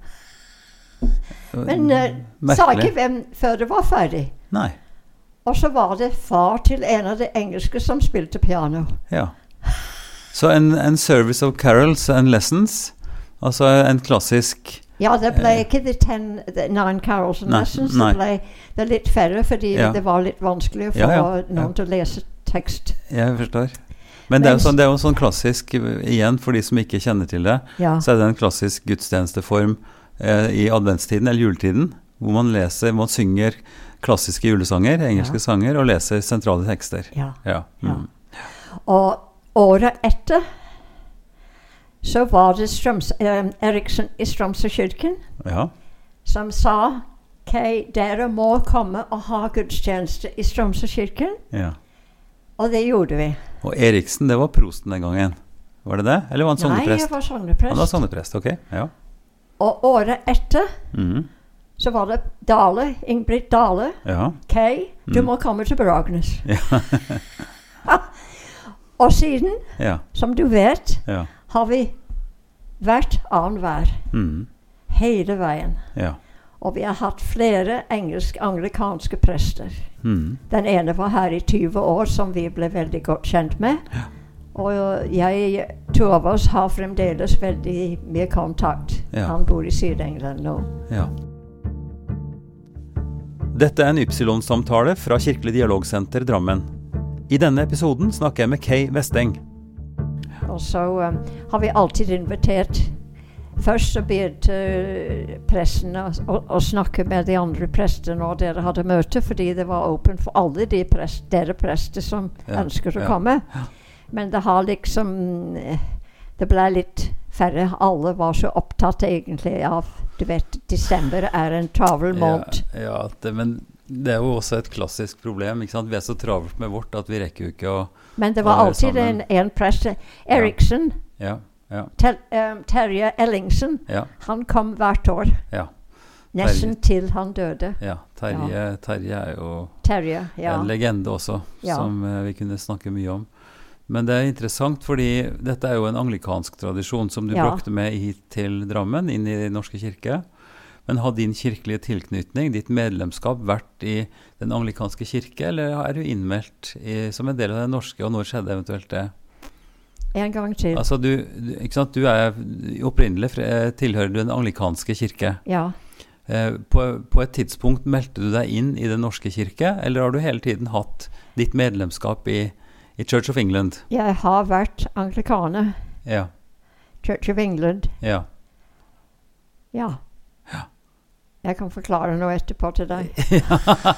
[SPEAKER 8] Men eh, sa
[SPEAKER 7] Merkelig.
[SPEAKER 8] ikke hvem før det var ferdig.
[SPEAKER 7] Nei.
[SPEAKER 8] Og så var det far til en av de engelske som spilte piano.
[SPEAKER 7] Ja. Så en, en service of carols and lessons, altså en klassisk
[SPEAKER 8] Ja, det ble
[SPEAKER 7] Eh.
[SPEAKER 8] ikke the, ten, the Nine Carols and
[SPEAKER 7] Nei,
[SPEAKER 8] Lessons.
[SPEAKER 7] nei.
[SPEAKER 8] Det ble det er litt færre fordi
[SPEAKER 7] Ja.
[SPEAKER 8] det var litt vanskelig å få
[SPEAKER 7] Ja, ja, ja.
[SPEAKER 8] noen til å lese tekst.
[SPEAKER 7] Jeg forstår. Men det er jo
[SPEAKER 8] Mens-
[SPEAKER 7] sånn, det er jo sånn klassisk, igjen for de som ikke kjenner til det,
[SPEAKER 8] Ja.
[SPEAKER 7] så er det en klassisk gudstjenesteform eh, i adventstiden eller juletiden, hvor man leser, man synger klassiske julesanger, engelske
[SPEAKER 8] Ja.
[SPEAKER 7] sanger, og leser sentrale tekster.
[SPEAKER 8] ja.
[SPEAKER 7] Ja. Mm.
[SPEAKER 8] Og året etter så var det Strøms, eh, Eriksen i Strømsøkirken
[SPEAKER 7] ja.
[SPEAKER 8] som sa Kay, dere må komme og ha gudstjeneste i Strømsøkirken.
[SPEAKER 7] ja.
[SPEAKER 8] Og det gjorde vi.
[SPEAKER 7] Og Eriksen, det var prosten den gangen. Var det det? Eller var han
[SPEAKER 8] Nei, jeg
[SPEAKER 7] sogneprest?
[SPEAKER 8] var
[SPEAKER 7] Han var
[SPEAKER 8] sogneprest.
[SPEAKER 7] sogneprest, ok. Ja.
[SPEAKER 8] Og året etter
[SPEAKER 7] Mm.
[SPEAKER 8] Så var det Dale, Ingrid Dale.
[SPEAKER 7] ja.
[SPEAKER 8] Kay, du
[SPEAKER 7] Mm.
[SPEAKER 8] må komme til Bragnes. og siden,
[SPEAKER 7] Ja.
[SPEAKER 8] som du vet,
[SPEAKER 7] Ja.
[SPEAKER 8] har vi hvert annenhver
[SPEAKER 7] Mm.
[SPEAKER 8] hele veien.
[SPEAKER 7] Ja.
[SPEAKER 8] Og vi har hatt flere engelsk-anglikanske prester.
[SPEAKER 7] Mm.
[SPEAKER 8] Den ene var her i 20 år, som vi ble veldig godt kjent med. Og jeg, to av oss har fremdeles veldig mye kontakt.
[SPEAKER 7] Ja.
[SPEAKER 8] Han bor i Syd-England nå.
[SPEAKER 7] Ja. Dette er en Ypsilon-samtale fra Kirkelig dialogsenter Drammen. I denne episoden snakker jeg med Kay Vesteng.
[SPEAKER 8] Og så eh, har vi alltid invitert Først så begynte eh, presten å, å, å snakke med de andre prestene når dere hadde møte, fordi det var åpent for alle de prest, dere prester som
[SPEAKER 7] Ja,
[SPEAKER 8] ønsker å
[SPEAKER 7] ja,
[SPEAKER 8] komme. Men det har liksom eh, Det ble litt færre. Alle var så opptatt egentlig av Du vet, desember er en travel måned.
[SPEAKER 7] Ja, ja det, men det er jo også et klassisk problem. Ikke sant? Vi er så travelt med vårt at vi rekker jo ikke å
[SPEAKER 8] Men det
[SPEAKER 7] alle
[SPEAKER 8] var
[SPEAKER 7] er
[SPEAKER 8] alltid en,
[SPEAKER 7] sammen.
[SPEAKER 8] en prest. Eriksen,
[SPEAKER 7] Ja. Ja.
[SPEAKER 8] Tel, eh, Terje Ellingsen,
[SPEAKER 7] ja,
[SPEAKER 8] han kom hvert år.
[SPEAKER 7] ja,
[SPEAKER 8] Nesten til han døde.
[SPEAKER 7] ja. Terje, Terje er jo
[SPEAKER 8] Terje. ja.
[SPEAKER 7] en legende også,
[SPEAKER 8] Ja.
[SPEAKER 7] som eh, vi kunne snakke mye om. Men det er interessant, fordi dette er jo en anglikansk tradisjon som du
[SPEAKER 8] Ja.
[SPEAKER 7] brakte med hit til Drammen, inn i Den norske kirke. Men har din kirkelige tilknytning, ditt medlemskap, vært i Den anglikanske kirke, eller er du innmeldt i, som en del av den norske, og når skjedde eventuelt det?
[SPEAKER 8] En gang til.
[SPEAKER 7] Altså, du, du, ikke sant? du er opprinnelig fra- eh, tilhører du Den anglikanske kirke.
[SPEAKER 8] Ja.
[SPEAKER 7] Eh, På, på et tidspunkt meldte du deg inn i Den norske kirke, eller har du hele tiden hatt ditt medlemskap i, i Church of England?
[SPEAKER 8] Jeg har vært anglikaner.
[SPEAKER 7] Ja,
[SPEAKER 8] Church of England.
[SPEAKER 7] ja,
[SPEAKER 8] Ja. Jeg kan forklare noe etterpå til deg.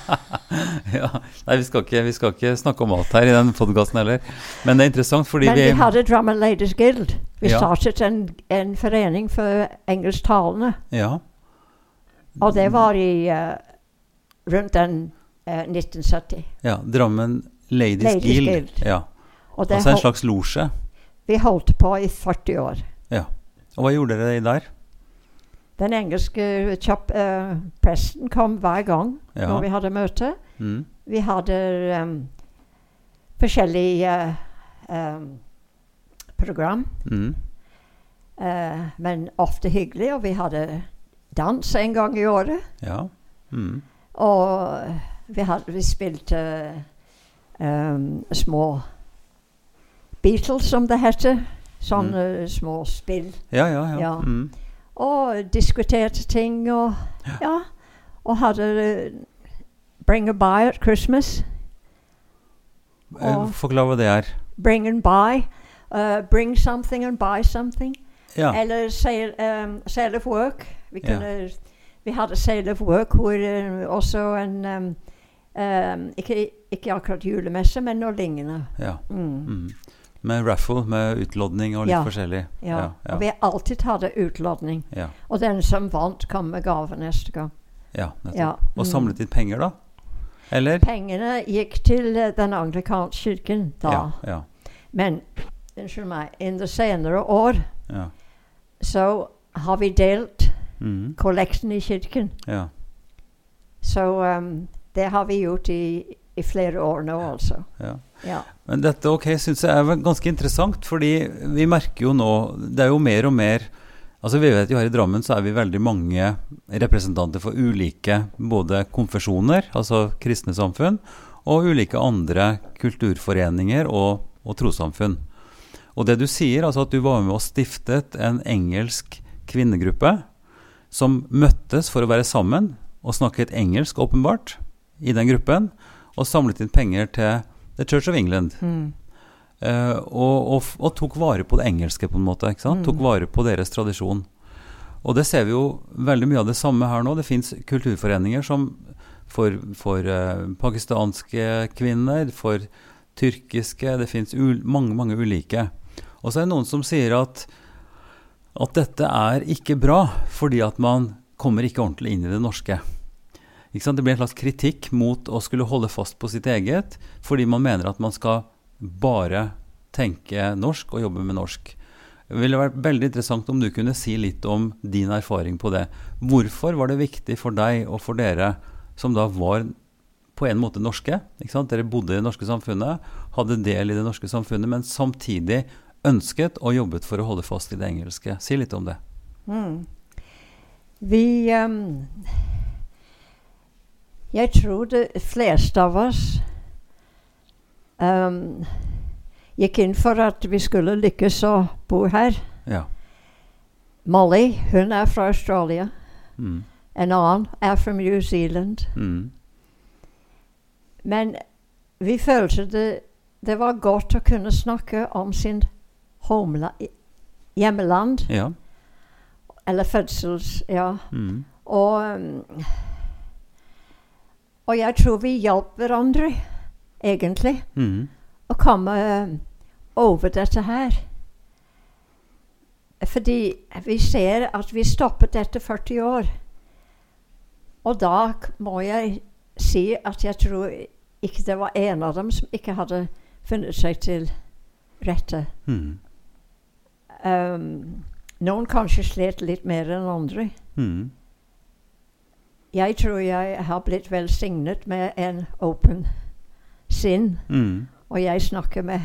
[SPEAKER 7] ja. Nei, vi skal, ikke, vi skal ikke snakke om mat her i den podkasten heller. Men det er interessant fordi
[SPEAKER 8] Men
[SPEAKER 7] vi
[SPEAKER 8] vi hadde Drammen Ladies Guild. Vi
[SPEAKER 7] Ja.
[SPEAKER 8] startet en, en forening for engelsktalende.
[SPEAKER 7] Ja.
[SPEAKER 8] Og det var i eh, rundt den eh, 1970.
[SPEAKER 7] ja Drammen Ladies,
[SPEAKER 8] Ladies
[SPEAKER 7] Guild.
[SPEAKER 8] Guild.
[SPEAKER 7] Ja.
[SPEAKER 8] Og det
[SPEAKER 7] Altså en
[SPEAKER 8] hol-
[SPEAKER 7] slags losje.
[SPEAKER 8] vi holdt på i 40 år.
[SPEAKER 7] Og hva gjorde dere der?
[SPEAKER 8] Den engelske kjapp, eh, presten kom hver gang
[SPEAKER 7] Ja.
[SPEAKER 8] når vi hadde møte.
[SPEAKER 7] Mm.
[SPEAKER 8] Vi hadde em, forskjellige eh, em, program,
[SPEAKER 7] Mm.
[SPEAKER 8] eh, men ofte hyggelig. Og vi hadde dans en gang i året.
[SPEAKER 7] Ja. Mm.
[SPEAKER 8] Og vi, hadde, vi spilte em, små Beatles, som det heter. Sånne små spill.
[SPEAKER 7] ja, ja, ja.
[SPEAKER 8] Ja.
[SPEAKER 7] Mm.
[SPEAKER 8] Og diskuterte ting og Ja. Og hadde eh, Bring a by at Christmas.
[SPEAKER 7] Eh,
[SPEAKER 8] Og-
[SPEAKER 7] Forklar hva det er.
[SPEAKER 8] Bring and buy. eh, bring something and buy something.
[SPEAKER 7] Ja.
[SPEAKER 8] Eller sale, em, sale of work. Vi,
[SPEAKER 7] Ja.
[SPEAKER 8] kunne, vi hadde sale of work hvor eh, også en em, em, ikke, ikke akkurat julemesse, men noe lignende.
[SPEAKER 7] ja.
[SPEAKER 8] Mm,
[SPEAKER 7] Mm. Med raffle, med utlodning og litt
[SPEAKER 8] Ja.
[SPEAKER 7] forskjellig.
[SPEAKER 8] ja.
[SPEAKER 7] Ja,
[SPEAKER 8] Og
[SPEAKER 7] ja,
[SPEAKER 8] vi alltid hadde utlodning.
[SPEAKER 7] ja,
[SPEAKER 8] Og den som vant, kom med gave neste gang.
[SPEAKER 7] ja, nettopp.
[SPEAKER 8] Ja.
[SPEAKER 7] Og
[SPEAKER 8] mm.
[SPEAKER 7] samlet inn penger, da? Eller?
[SPEAKER 8] Pengene gikk til eh, den anglikanske kirken da.
[SPEAKER 7] Ja, ja,
[SPEAKER 8] Men unnskyld meg, i de senere år
[SPEAKER 7] ja.
[SPEAKER 8] så har vi delt
[SPEAKER 7] Mm.
[SPEAKER 8] kollekten i kirken.
[SPEAKER 7] ja.
[SPEAKER 8] Så um, det har vi gjort i, i flere år nå, altså.
[SPEAKER 7] Ja.
[SPEAKER 8] Ja.
[SPEAKER 7] Men dette ok, synes jeg er vel ganske interessant, fordi vi merker jo nå Det er jo mer og mer Altså Vi vet jo her i Drammen så er vi veldig mange representanter for ulike både konfesjoner, altså kristne samfunn, og ulike andre kulturforeninger og, og trossamfunn. Og det du sier, altså at du var med og stiftet en engelsk kvinnegruppe som møttes for å være sammen og snakket engelsk, åpenbart, i den gruppen, og samlet inn penger til The Church of England.
[SPEAKER 8] Mm.
[SPEAKER 7] Eh, og, og, f- og tok vare på det engelske, på en måte. Ikke sant? Tok vare på deres tradisjon. Og det ser vi jo veldig mye av det samme her nå. Det fins kulturforeninger som for, for eh, pakistanske kvinner, for tyrkiske Det fins mange, mange ulike. Og så er det noen som sier at, at dette er ikke bra, fordi at man kommer ikke ordentlig inn i det norske. Ikke sant? Det blir en slags kritikk mot å skulle holde fast på sitt eget, fordi man mener at man skal bare tenke norsk og jobbe med norsk. Det ville vært veldig interessant om du kunne si litt om din erfaring på det. Hvorfor var det viktig for deg og for dere, som da var på en måte norske? Ikke sant? Dere bodde i det norske samfunnet, hadde del i det norske samfunnet, men samtidig ønsket og jobbet for å holde fast i det engelske. Si litt om det.
[SPEAKER 8] Mm. Vi um, Jeg tror de fleste av oss um, gikk inn for at vi skulle lykkes å bo her.
[SPEAKER 7] Ja.
[SPEAKER 8] Molly, hun er fra Australia.
[SPEAKER 7] Mm.
[SPEAKER 8] En annen er fra New Zealand.
[SPEAKER 7] Mm.
[SPEAKER 8] Men vi følte det, det var godt å kunne snakke om sin homela, hjemmeland,
[SPEAKER 7] Ja.
[SPEAKER 8] eller fødsels... Ja.
[SPEAKER 7] Mm.
[SPEAKER 8] Og, um, og jeg tror vi hjalp hverandre, egentlig,
[SPEAKER 7] Mm.
[SPEAKER 8] å komme um, over dette her. Fordi vi ser at vi stoppet etter 40 år. Og da k- må jeg si at jeg tror ikke det var en av dem som ikke hadde funnet seg til rette.
[SPEAKER 7] Mm.
[SPEAKER 8] Um, noen kanskje slet litt mer enn andre.
[SPEAKER 7] Mm.
[SPEAKER 8] Jeg tror jeg har blitt velsignet med en åpen sinn,
[SPEAKER 7] Mm.
[SPEAKER 8] og jeg snakker med,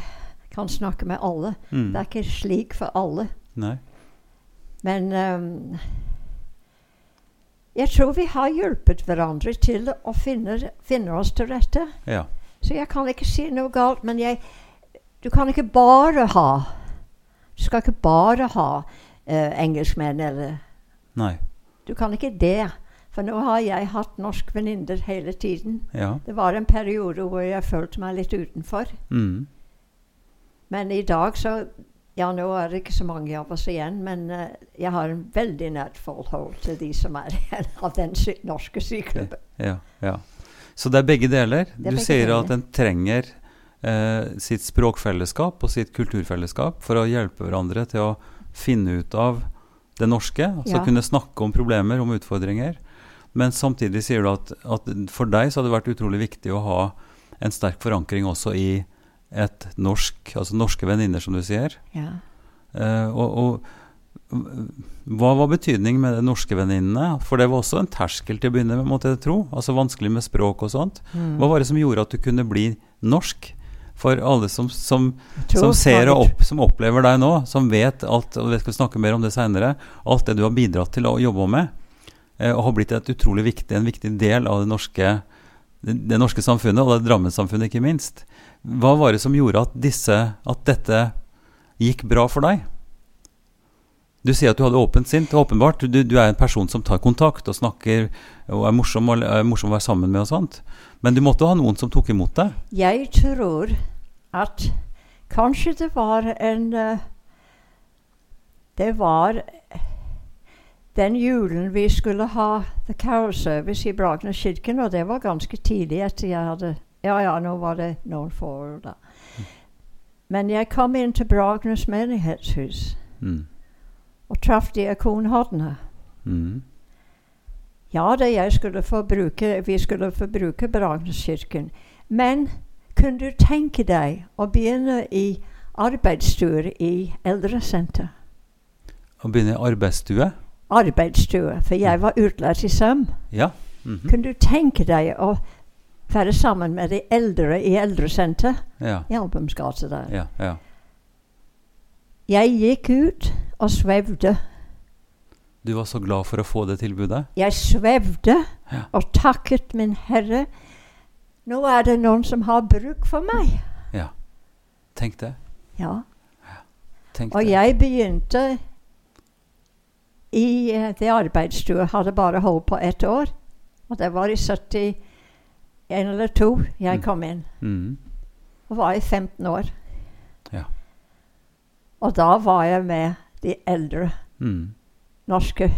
[SPEAKER 8] kan snakke med alle. Det
[SPEAKER 7] Mm.
[SPEAKER 8] er ikke slik for alle,
[SPEAKER 7] Nei.
[SPEAKER 8] men um, jeg tror vi har hjulpet hverandre til å finne, finne oss til rette.
[SPEAKER 7] Ja.
[SPEAKER 8] Så jeg kan ikke si noe galt, men jeg Du kan ikke bare ha Du skal ikke bare ha eh, engelskmenn, eller
[SPEAKER 7] Nei.
[SPEAKER 8] Du kan ikke det. For nå har jeg hatt norsk venninner hele tiden.
[SPEAKER 7] Ja.
[SPEAKER 8] Det var en periode hvor jeg følte meg litt utenfor.
[SPEAKER 7] Mm.
[SPEAKER 8] Men i dag så Ja, nå er det ikke så mange av oss igjen, men eh, jeg har en veldig nært forhold til de som er igjen av den sy norske syklubben.
[SPEAKER 7] Ja, ja. Så det er begge deler.
[SPEAKER 8] er
[SPEAKER 7] du
[SPEAKER 8] begge
[SPEAKER 7] sier at
[SPEAKER 8] deler.
[SPEAKER 7] en trenger eh, sitt språkfellesskap og sitt kulturfellesskap for å hjelpe hverandre til å finne ut av det norske. Altså
[SPEAKER 8] Ja.
[SPEAKER 7] kunne snakke om problemer, om utfordringer. Men samtidig sier du at, at for deg så har det vært utrolig viktig å ha en sterk forankring også i et norsk, altså norske venninner, som du sier.
[SPEAKER 8] Ja.
[SPEAKER 7] Eh, og, og hva var betydningen med de norske venninnene? For det var også en terskel til å begynne med, måtte jeg tro. Altså vanskelig med språk og sånt. Hva var det som gjorde at du kunne bli norsk? For alle som, som,
[SPEAKER 8] tror
[SPEAKER 7] som ser og
[SPEAKER 8] mange-
[SPEAKER 7] opp, som opplever deg nå, som vet alt, og vi skal snakke mer om det seinere, alt det du har bidratt til å jobbe med, eh, og har blitt et utrolig viktig, en viktig del av det norske, det, det norske samfunnet, og det Drammen-samfunnet ikke minst. Hva var det som gjorde at, disse, at dette gikk bra for deg? Du sier at du hadde åpent sinn. det er Åpenbart. Du, du er en person som tar kontakt og snakker og er morsom, og er morsom å være sammen med og sånt. Men du måtte ha noen som tok imot deg.
[SPEAKER 8] Jeg tror at kanskje det var en eh, Det var den julen vi skulle ha The Carol Service i Bragernes kirken, og det var ganske tidlig etter jeg hadde Ja ja, nå var det noen få år, da. Men jeg kom inn til Bragernes menighetshus
[SPEAKER 7] Mm.
[SPEAKER 8] og traff diakon Hodne.
[SPEAKER 7] Mm.
[SPEAKER 8] Ja, det jeg skulle få bruke, vi skulle få bruke Bragerskirken. Men kunne du tenke deg å begynne i arbeidsstue i eldresenter?
[SPEAKER 7] Å begynne i arbeidsstue.
[SPEAKER 8] Arbeidsstue, for jeg var utlært i søm.
[SPEAKER 7] Ja. mhm.
[SPEAKER 8] Kunne du tenke deg å være sammen med de eldre i eldresenter
[SPEAKER 7] ja.
[SPEAKER 8] i Albums gate der?
[SPEAKER 7] Ja. Ja.
[SPEAKER 8] Jeg gikk ut og svevde.
[SPEAKER 7] Du var så glad for å få det tilbudet.
[SPEAKER 8] Jeg svevde
[SPEAKER 7] Ja.
[SPEAKER 8] og takket min Herre. Nå er det noen som har bruk for meg.
[SPEAKER 7] Tenk det.
[SPEAKER 8] Ja.
[SPEAKER 7] Tenk
[SPEAKER 8] Og
[SPEAKER 7] det.
[SPEAKER 8] jeg begynte i eh, det arbeidsstue, hadde bare holdt på ett år. Og det var i 71 eller 2 jeg
[SPEAKER 7] Mm.
[SPEAKER 8] kom inn,
[SPEAKER 7] Mhm.
[SPEAKER 8] og var i 15 år.
[SPEAKER 7] Ja.
[SPEAKER 8] Og da var jeg med de eldre
[SPEAKER 7] Mhm.
[SPEAKER 8] norske.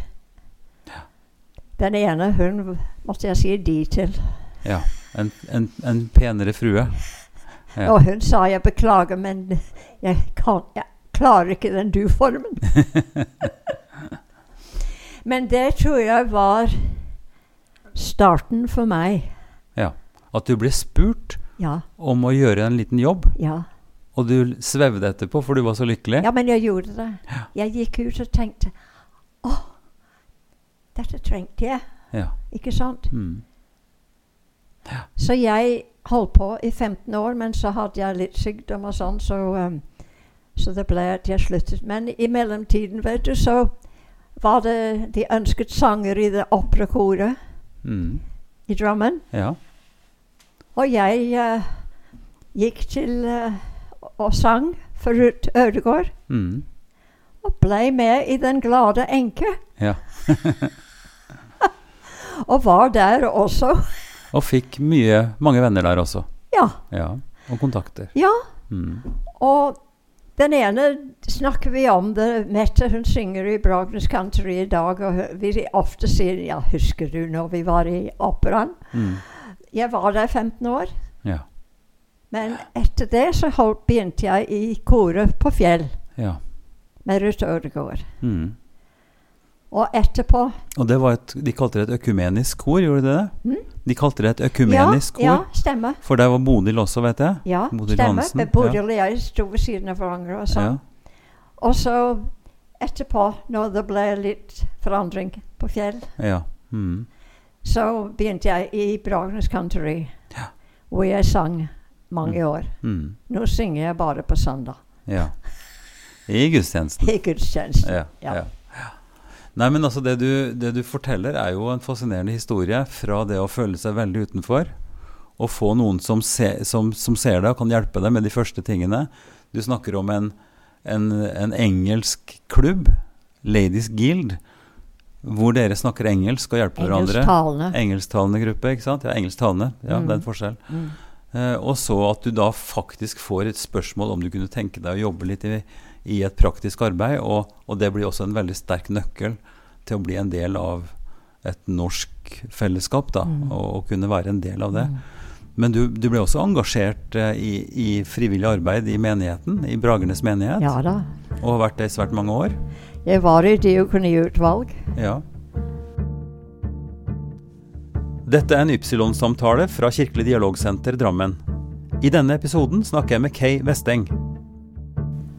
[SPEAKER 8] Den ene, hun v- måtte jeg si de til.
[SPEAKER 7] Ja. En, en, en penere frue. Ja.
[SPEAKER 8] Og hun sa jeg beklager, men jeg, kan, jeg klarer ikke den du-formen. men det tror jeg var starten for meg.
[SPEAKER 7] At du ble spurt
[SPEAKER 8] Ja,
[SPEAKER 7] om å gjøre en liten jobb,
[SPEAKER 8] ja.
[SPEAKER 7] og du svevde etterpå, for du var så lykkelig.
[SPEAKER 8] ja men jeg gjorde det. Jeg gikk ut og tenkte Å, dette trengte jeg.
[SPEAKER 7] Ja.
[SPEAKER 8] Ikke sant?
[SPEAKER 7] Mhm.
[SPEAKER 8] Så jeg holdt på i 15 år, men så hadde jeg litt sykdom og sånn, så, um, så det ble at jeg sluttet. Men i mellomtiden, vet du, så var det De ønsket sanger i det operakoret
[SPEAKER 7] Mhm.
[SPEAKER 8] i Drammen.
[SPEAKER 7] Ja.
[SPEAKER 8] Og jeg eh, gikk til eh, og sang for Ruth Ødegård.
[SPEAKER 7] Mhm.
[SPEAKER 8] Og ble med i Den glade enke.
[SPEAKER 7] Ja.
[SPEAKER 8] og var der også.
[SPEAKER 7] Og fikk mye, mange venner der også.
[SPEAKER 8] Ja.
[SPEAKER 7] Ja. Og kontakter.
[SPEAKER 8] Ja.
[SPEAKER 7] Mm.
[SPEAKER 8] Og den ene snakker vi om det. Mette hun synger i Bragnes Country i dag, og hø- vi ofte sier Ja, husker du når vi var i operaen?
[SPEAKER 7] Mm.
[SPEAKER 8] Jeg var der 15 år,
[SPEAKER 7] Ja.
[SPEAKER 8] men etter det så holdt, begynte jeg i koret på Fjell
[SPEAKER 7] ja.
[SPEAKER 8] med Ruth Ødegaard.
[SPEAKER 7] Mm.
[SPEAKER 8] Og etterpå
[SPEAKER 7] Og det var et, de kalte det et økumenisk kor, gjorde de det? De kalte det et
[SPEAKER 8] Ja,
[SPEAKER 7] økumenisk
[SPEAKER 8] Mm. ja,
[SPEAKER 7] kor.
[SPEAKER 8] stemmer.
[SPEAKER 7] For der var Bodil også, vet jeg.
[SPEAKER 8] Ja,
[SPEAKER 7] Bodil
[SPEAKER 8] stemmer.
[SPEAKER 7] Hansen,
[SPEAKER 8] Men Bodil og jeg sto ved siden av hverandre og
[SPEAKER 7] Ja.
[SPEAKER 8] sånn. Og så etterpå, når det ble litt forandring på Fjell
[SPEAKER 7] ja. Mm.
[SPEAKER 8] Så begynte jeg i Bragnes Country,
[SPEAKER 7] Ja.
[SPEAKER 8] hvor jeg sang mange år.
[SPEAKER 7] Mm.
[SPEAKER 8] Nå synger jeg bare på søndag,
[SPEAKER 7] ja. I gudstjenesten.
[SPEAKER 8] i gudstjenesten.
[SPEAKER 7] Ja,
[SPEAKER 8] Ja.
[SPEAKER 7] ja. Nei, men altså det du, det du forteller er jo en fascinerende historie fra det å føle seg veldig utenfor, og få noen som, se, som, som ser deg og kan hjelpe deg med de første tingene. Du snakker om en, en, en engelsk klubb, Ladies Guild, hvor dere snakker engelsk og hjelper hverandre.
[SPEAKER 8] Engelsktalende.
[SPEAKER 7] Engelsktalende gruppe, ikke sant? Ja, engelsktalende. Ja,
[SPEAKER 8] Mm.
[SPEAKER 7] det er en forskjell.
[SPEAKER 8] Mm.
[SPEAKER 7] Eh, og så at du da faktisk får et spørsmål om du kunne tenke deg å jobbe litt i, i et praktisk arbeid. Og, og det blir også en veldig sterk nøkkel til å bli en del av et norsk fellesskap, da,
[SPEAKER 8] Mm.
[SPEAKER 7] og, og kunne være en del av det. Men du, du ble også engasjert eh, i, i frivillig arbeid i menigheten, i Bragernes menighet,
[SPEAKER 8] Ja da.
[SPEAKER 7] og har vært det i svært mange år.
[SPEAKER 8] Jeg var i diakoniutvalg.
[SPEAKER 7] Ja. Dette er en Ypsilon-samtale fra Kirkelig dialogsenter Drammen. I denne episoden snakker jeg med Kay Vesteng.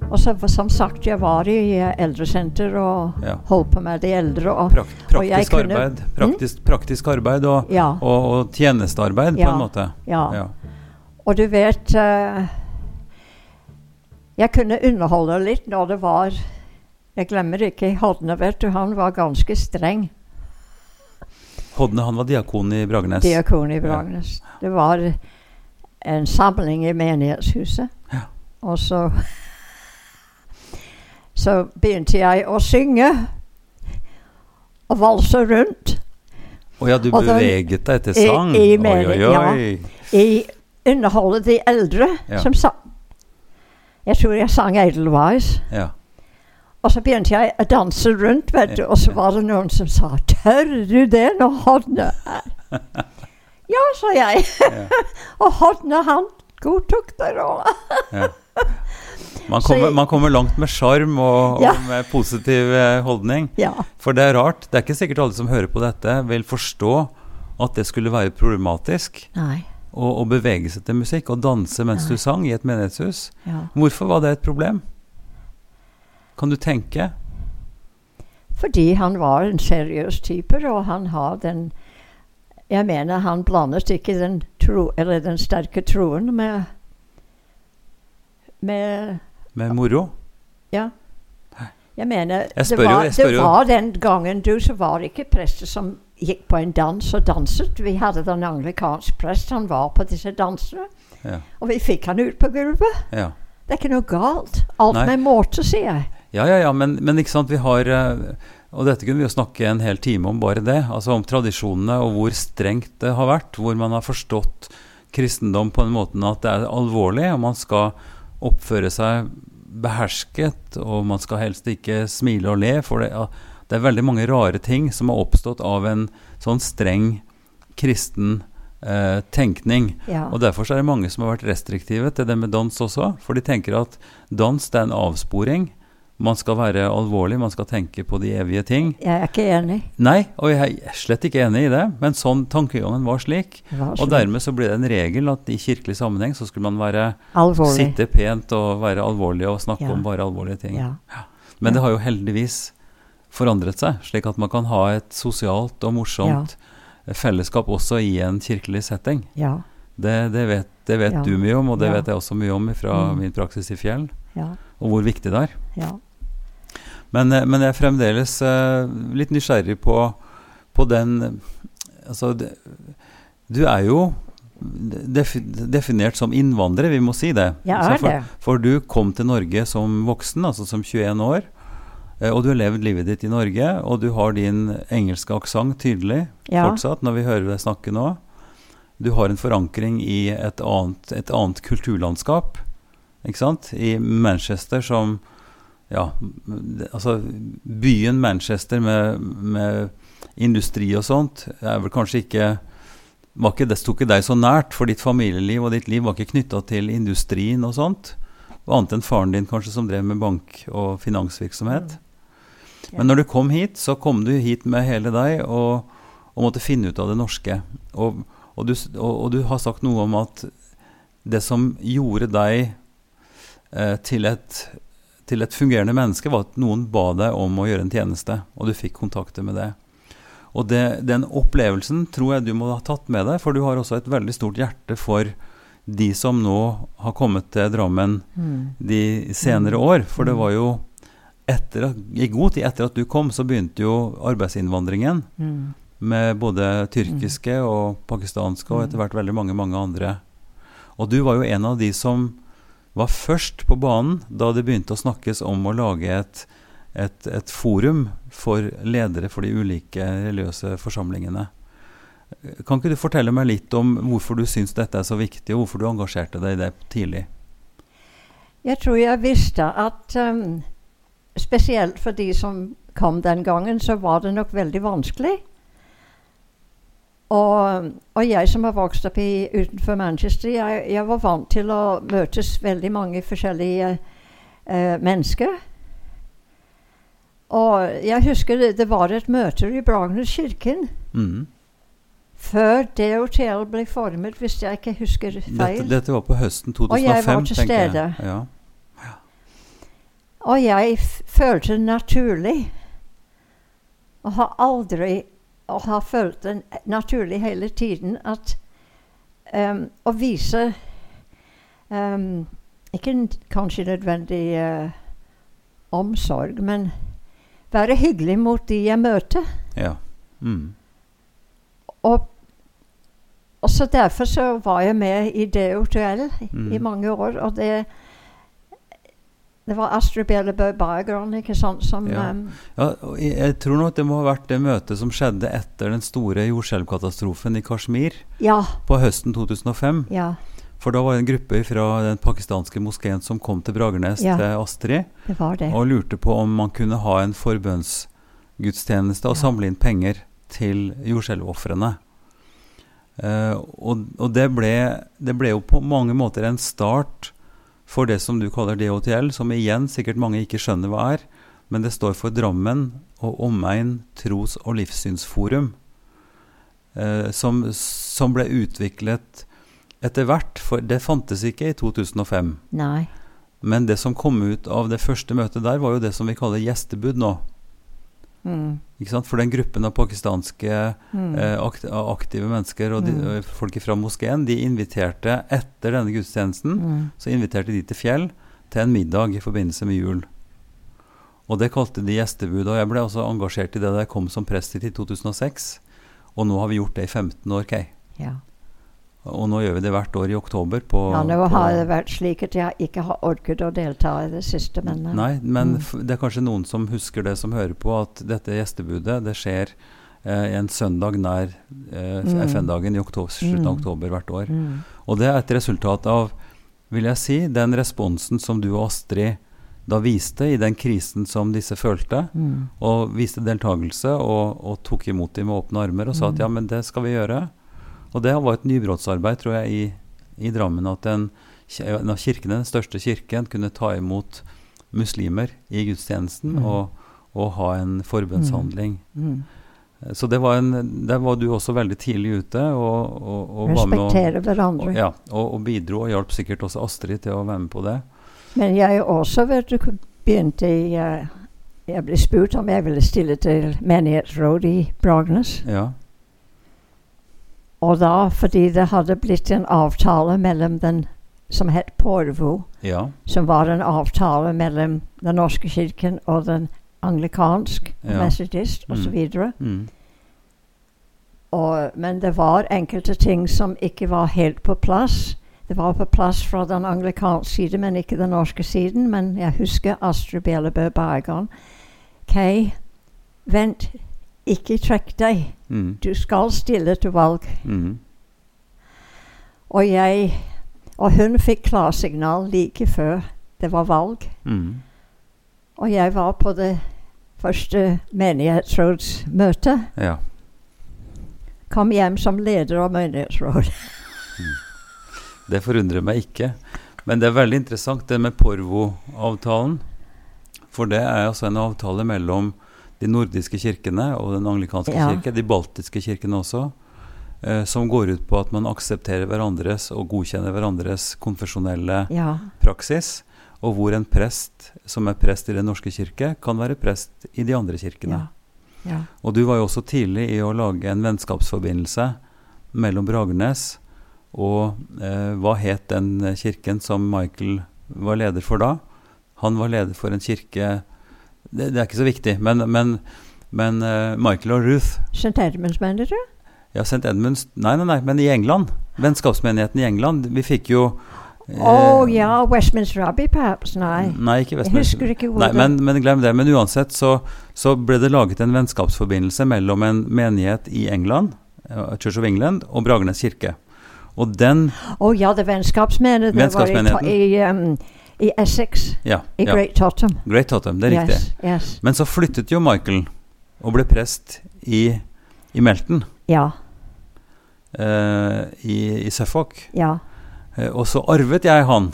[SPEAKER 8] Og så, som sagt, jeg var i eh, eldresenter og
[SPEAKER 7] Ja.
[SPEAKER 8] holdt på med de eldre. Og,
[SPEAKER 7] Prakt,
[SPEAKER 8] og jeg
[SPEAKER 7] praktisk,
[SPEAKER 8] kunne- Mm?
[SPEAKER 7] arbeid, praktisk, praktisk arbeid og,
[SPEAKER 8] Ja.
[SPEAKER 7] og, og tjenestearbeid, på
[SPEAKER 8] Ja.
[SPEAKER 7] en måte.
[SPEAKER 8] Ja.
[SPEAKER 7] Ja.
[SPEAKER 8] Og du vet eh, Jeg kunne underholde litt når det var Jeg glemmer ikke Hodne, vet du. Han var ganske streng,
[SPEAKER 7] Hodne han var diakon i Bragernes.
[SPEAKER 8] diakon i Bragnes. Det var en samling i menighetshuset.
[SPEAKER 7] Ja.
[SPEAKER 8] Og så Så begynte jeg å synge og valse rundt
[SPEAKER 7] Å ja, du
[SPEAKER 8] Og den-
[SPEAKER 7] beveget deg etter
[SPEAKER 8] i-
[SPEAKER 7] sang?
[SPEAKER 8] i
[SPEAKER 7] oi,
[SPEAKER 8] menig-
[SPEAKER 7] oi,
[SPEAKER 8] ja.
[SPEAKER 7] oi.
[SPEAKER 8] i underholdet de eldre
[SPEAKER 7] Ja.
[SPEAKER 8] som sang. Jeg tror jeg sang 'Edelweiss'.
[SPEAKER 7] Ja.
[SPEAKER 8] Og så begynte jeg å danse rundt, vet du, og så var det noen som sa 'Tør du det når Hodne er Ja, sa jeg. og Hodne, han godtok det. Og
[SPEAKER 7] Man,
[SPEAKER 8] Så
[SPEAKER 7] kommer,
[SPEAKER 8] jeg-
[SPEAKER 7] man kommer langt med sjarm og,
[SPEAKER 8] Ja.
[SPEAKER 7] og med positiv eh, holdning.
[SPEAKER 8] ja.
[SPEAKER 7] For det er rart. Det er ikke sikkert alle som hører på dette, vil forstå at det skulle være problematisk
[SPEAKER 8] Nei.
[SPEAKER 7] å, å bevege seg til musikk og danse mens du sang i et menighetshus.
[SPEAKER 8] Ja.
[SPEAKER 7] Hvorfor var det et problem? Kan du tenke?
[SPEAKER 8] Fordi han var en seriøs type, og han har den Jeg mener, han blandet ikke den, tro, eller den sterke troen med, med
[SPEAKER 7] Med moro?
[SPEAKER 8] Ja. Jeg mener,
[SPEAKER 7] Jeg spør jo,
[SPEAKER 8] det, var,
[SPEAKER 7] jeg spør
[SPEAKER 8] det
[SPEAKER 7] jo.
[SPEAKER 8] var den gangen du så var det ikke prester som gikk på en dans og danset. Vi hadde den anglikansk prest, han var på disse dansene.
[SPEAKER 7] Ja.
[SPEAKER 8] Og vi fikk han ut på gulvet.
[SPEAKER 7] Ja.
[SPEAKER 8] Det er ikke noe galt. Alt
[SPEAKER 7] Nei.
[SPEAKER 8] med måte, sier jeg.
[SPEAKER 7] Ja, ja, ja, men, men ikke sant, vi har eh, Og dette kunne vi jo snakke en hel time om bare det. Altså om tradisjonene og hvor strengt det har vært. Hvor man har forstått kristendom på den måten at det er alvorlig, og man skal oppføre seg behersket, og man skal helst ikke smile og le. For det, ja, det er veldig mange rare ting som har oppstått av en sånn streng kristen eh, tenkning.
[SPEAKER 8] Ja.
[SPEAKER 7] Og derfor så er det mange som har vært restriktive til det med dans også. For de tenker at dans det er en avsporing. Man skal være alvorlig, man skal tenke på de evige ting.
[SPEAKER 8] Jeg er ikke enig.
[SPEAKER 7] Nei, og jeg er slett ikke enig i det, men sånn tankegangen var slik.
[SPEAKER 8] Det var
[SPEAKER 7] Og
[SPEAKER 8] sånn.
[SPEAKER 7] dermed så ble det en regel at i kirkelig sammenheng så skulle man være,
[SPEAKER 8] Alvorlig.
[SPEAKER 7] sitte pent og være alvorlig og snakke
[SPEAKER 8] Ja.
[SPEAKER 7] om bare alvorlige ting.
[SPEAKER 8] Ja.
[SPEAKER 7] Men det har jo heldigvis forandret seg, slik at man kan ha et sosialt og morsomt fellesskap også i en kirkelig setting.
[SPEAKER 8] ja.
[SPEAKER 7] Det, det vet, det vet
[SPEAKER 8] Ja.
[SPEAKER 7] du mye om, og det
[SPEAKER 8] Ja.
[SPEAKER 7] vet jeg også mye om fra
[SPEAKER 8] Mm.
[SPEAKER 7] min praksis i Fjell,
[SPEAKER 8] Ja.
[SPEAKER 7] og hvor viktig det er.
[SPEAKER 8] Ja.
[SPEAKER 7] Men, eh, men jeg er fremdeles eh, litt nysgjerrig på, på den eh, Altså, det, du er jo defi definert som innvandrer, vi må si det.
[SPEAKER 8] Jeg
[SPEAKER 7] Så
[SPEAKER 8] er
[SPEAKER 7] for,
[SPEAKER 8] det.
[SPEAKER 7] For du kom til Norge som voksen, altså som 21 år. eh, Og du har levd livet ditt i Norge, og du har din engelske aksent tydelig
[SPEAKER 8] Ja.
[SPEAKER 7] fortsatt når vi hører deg snakke nå. Du har en forankring i et annet, et annet kulturlandskap, ikke sant? I Manchester som Ja, det- altså byen Manchester med, med industri og sånt er vel kanskje ikke var ikke, Det sto ikke deg så nært, for ditt familieliv og ditt liv var ikke knytta til industrien og sånt. Og annet enn faren din kanskje som drev med bank og finansvirksomhet.
[SPEAKER 8] Mm. Ja.
[SPEAKER 7] Men når du kom hit, så kom du hit med hele deg og, og måtte finne ut av det norske. Og, og, du, s- og, og du har sagt noe om at det som gjorde deg eh, til, et, til et fungerende menneske, var at noen ba deg om å gjøre en tjeneste, og du fikk kontakter med det. Og det, den opplevelsen tror jeg du må ha tatt med deg, for du har også et veldig stort hjerte for de som nå har kommet til Drammen
[SPEAKER 8] Mm.
[SPEAKER 7] de senere år. For det var jo etter at, I god tid etter at du kom, så begynte jo arbeidsinnvandringen
[SPEAKER 8] Mm.
[SPEAKER 7] med både tyrkiske og pakistanske og
[SPEAKER 8] Mm.
[SPEAKER 7] etter hvert veldig mange, mange andre. Og du var jo en av de som var først på banen da det begynte å snakkes om å lage et, et, et forum for ledere for de ulike religiøse forsamlingene. Kan ikke du fortelle meg litt om hvorfor du syns dette er så viktig, og hvorfor du engasjerte deg i det tidlig?
[SPEAKER 8] Jeg tror jeg visste at ehm, spesielt for de som kom den gangen, så var det nok veldig vanskelig. Og, og jeg som har vokst opp i, utenfor Manchester, jeg, jeg var vant til å møtes veldig mange forskjellige eh, mennesker. Og jeg husker det, det var et møte i Bragernes kirken
[SPEAKER 7] Mm.
[SPEAKER 8] før DOTL ble formet, hvis jeg ikke husker feil.
[SPEAKER 7] Dette, dette var på høsten 2005,
[SPEAKER 8] Og jeg var til
[SPEAKER 7] tenker jeg.
[SPEAKER 8] stede.
[SPEAKER 7] Ja.
[SPEAKER 8] Og jeg f- følte det naturlig. Og har aldri og har følt det naturlig hele tiden at em, å vise em, Ikke n- kanskje nødvendig eh, omsorg, men være hyggelig mot de jeg møter.
[SPEAKER 7] Ja. Mm.
[SPEAKER 8] Og, og så derfor så var jeg med i DOTL i
[SPEAKER 7] Mhm.
[SPEAKER 8] mange år, og det det var Astrid Bjellebø Bergran ikke sant, som ehm,
[SPEAKER 7] Ja.
[SPEAKER 8] em,
[SPEAKER 7] Ja, og jeg- jeg tror nok det må ha vært det møtet som skjedde etter den store jordskjelvkatastrofen i Kashmir
[SPEAKER 8] ja,
[SPEAKER 7] på høsten 2005.
[SPEAKER 8] ja,
[SPEAKER 7] For da var det en gruppe fra den pakistanske moskeen som kom til Bragernes
[SPEAKER 8] Ja.
[SPEAKER 7] til Astrid
[SPEAKER 8] det var det.
[SPEAKER 7] og lurte på om man kunne ha en forbønnsgudstjeneste og
[SPEAKER 8] Ja.
[SPEAKER 7] samle inn penger til jordskjelvofrene. Eh, og og det, ble, det ble jo på mange måter en start for det som du kaller DHTL, som igjen sikkert mange ikke skjønner hva er, men det står for Drammen og Omegn tros- og livssynsforum, eh, som, som ble utviklet etter hvert, for det fantes ikke i 2005.
[SPEAKER 8] Nei.
[SPEAKER 7] Men det som kom ut av det første møtet der, var jo det som vi kaller gjestebud nå.
[SPEAKER 8] Mm,
[SPEAKER 7] Ikke sant? For den gruppen av pakistanske
[SPEAKER 8] mm,
[SPEAKER 7] eh, akt aktive mennesker og de,
[SPEAKER 8] Mm.
[SPEAKER 7] og folk fra moskeen, de inviterte etter denne gudstjenesten,
[SPEAKER 8] mm.
[SPEAKER 7] så inviterte de til Fjell til en middag i forbindelse med jul. Og det kalte de gjestebud. Og jeg ble også engasjert i det da jeg kom som prest hit i 2006. Og nå har vi gjort det i 15 år, Kay.
[SPEAKER 8] Ja.
[SPEAKER 7] Og nå gjør vi det hvert år i oktober på
[SPEAKER 8] ja, nå
[SPEAKER 7] på-
[SPEAKER 8] har det vært slik at jeg ikke har orket å delta i det siste, men eh,
[SPEAKER 7] Nei, men
[SPEAKER 8] Mm.
[SPEAKER 7] f det er kanskje noen som husker det som hører på, at dette gjestebudet det skjer eh, en søndag nær eh,
[SPEAKER 8] Mm.
[SPEAKER 7] FN-dagen i oktober, slutten av
[SPEAKER 8] Mm.
[SPEAKER 7] oktober hvert år.
[SPEAKER 8] mm,
[SPEAKER 7] Og det er et resultat av, vil jeg si, den responsen som du og Astrid da viste i den krisen som disse følte,
[SPEAKER 8] mm,
[SPEAKER 7] og viste deltakelse og, og tok imot dem med åpne armer og sa
[SPEAKER 8] Mm.
[SPEAKER 7] at ja, men det skal vi gjøre. Og det var et nybrottsarbeid, tror jeg, i, i Drammen. At en, ki- en av kirkene, den største kirken, kunne ta imot muslimer i gudstjenesten
[SPEAKER 8] Mm.
[SPEAKER 7] og, og ha en forbønnshandling.
[SPEAKER 8] mm.
[SPEAKER 7] Så det var en, der var du også veldig tidlig ute og, og, og var med og,
[SPEAKER 8] Respektere hverandre.
[SPEAKER 7] og, ja, og, og bidro og hjalp sikkert også Astrid til å være med på det.
[SPEAKER 8] Men jeg også vet du, begynte i eh, Jeg ble spurt om jeg ville stille til menighetsråd i Bragernes.
[SPEAKER 7] Ja.
[SPEAKER 8] Og da fordi det hadde blitt en avtale mellom den som het Porvo,
[SPEAKER 7] Ja.
[SPEAKER 8] som var en avtale mellom Den norske kirken og den anglikansk,
[SPEAKER 7] Ja.
[SPEAKER 8] metodist
[SPEAKER 7] Mm.
[SPEAKER 8] osv.
[SPEAKER 7] Mm.
[SPEAKER 8] Men det var enkelte ting som ikke var helt på plass. Det var på plass fra den anglikanske siden, men ikke den norske siden. Men jeg husker Astrid Bjellebø Bergan. Kay, vent, ikke trekk deg.
[SPEAKER 7] Mm.
[SPEAKER 8] Du skal stille til valg.
[SPEAKER 7] Mm.
[SPEAKER 8] Og jeg Og hun fikk klarsignal like før det var valg.
[SPEAKER 7] Mm.
[SPEAKER 8] Og jeg var på det første menighetsrådsmøtet.
[SPEAKER 7] Ja.
[SPEAKER 8] Kom hjem som leder av menighetsrådet.
[SPEAKER 7] Det forundrer meg ikke. Men det er veldig interessant det med Porvo-avtalen. For det er altså en avtale mellom de nordiske kirkene og den anglikanske
[SPEAKER 8] Ja.
[SPEAKER 7] kirke, de baltiske kirkene også, eh, som går ut på at man aksepterer hverandres og godkjenner hverandres konfesjonelle
[SPEAKER 8] Ja.
[SPEAKER 7] praksis, og hvor en prest som er prest i Den norske kirke, kan være prest i de andre kirkene.
[SPEAKER 8] ja. ja.
[SPEAKER 7] Og du var jo også tidlig i å lage en vennskapsforbindelse mellom Bragernes og eh, hva het den kirken som Michael var leder for da? Han var leder for en kirke Det, det er ikke så viktig, men, men, men eh, Michael og Ruth
[SPEAKER 8] St. Edmunds, mener du?
[SPEAKER 7] Ja, St. Edmunds Nei, nei, nei, men i England. Vennskapsmenigheten i England. Vi fikk jo eh,
[SPEAKER 8] Å ja, Westminster Abbey, perhaps. Nei.
[SPEAKER 7] Nei, ikke
[SPEAKER 8] Jeg
[SPEAKER 7] Vestminster.
[SPEAKER 8] husker ikke
[SPEAKER 7] Mm.
[SPEAKER 8] hvor
[SPEAKER 7] Nei,
[SPEAKER 8] det-
[SPEAKER 7] men, men glem det. Men uansett så, så ble det laget en vennskapsforbindelse mellom en menighet i England, eh, Church of England, og Bragernes kirke. Og den
[SPEAKER 8] Å ja, det vennskapsmenighet. Det var i,
[SPEAKER 7] Vennskapsmenigheten.
[SPEAKER 8] i, um, i Essex,
[SPEAKER 7] Ja,
[SPEAKER 8] i
[SPEAKER 7] ja.
[SPEAKER 8] Great Totem.
[SPEAKER 7] Great Totem, det er riktig.
[SPEAKER 8] Yes, yes.
[SPEAKER 7] Men så flyttet jo Michael og ble prest i, i Melton,
[SPEAKER 8] Ja,
[SPEAKER 7] eh, i, i Suffolk.
[SPEAKER 8] ja.
[SPEAKER 7] Eh, og så arvet jeg han,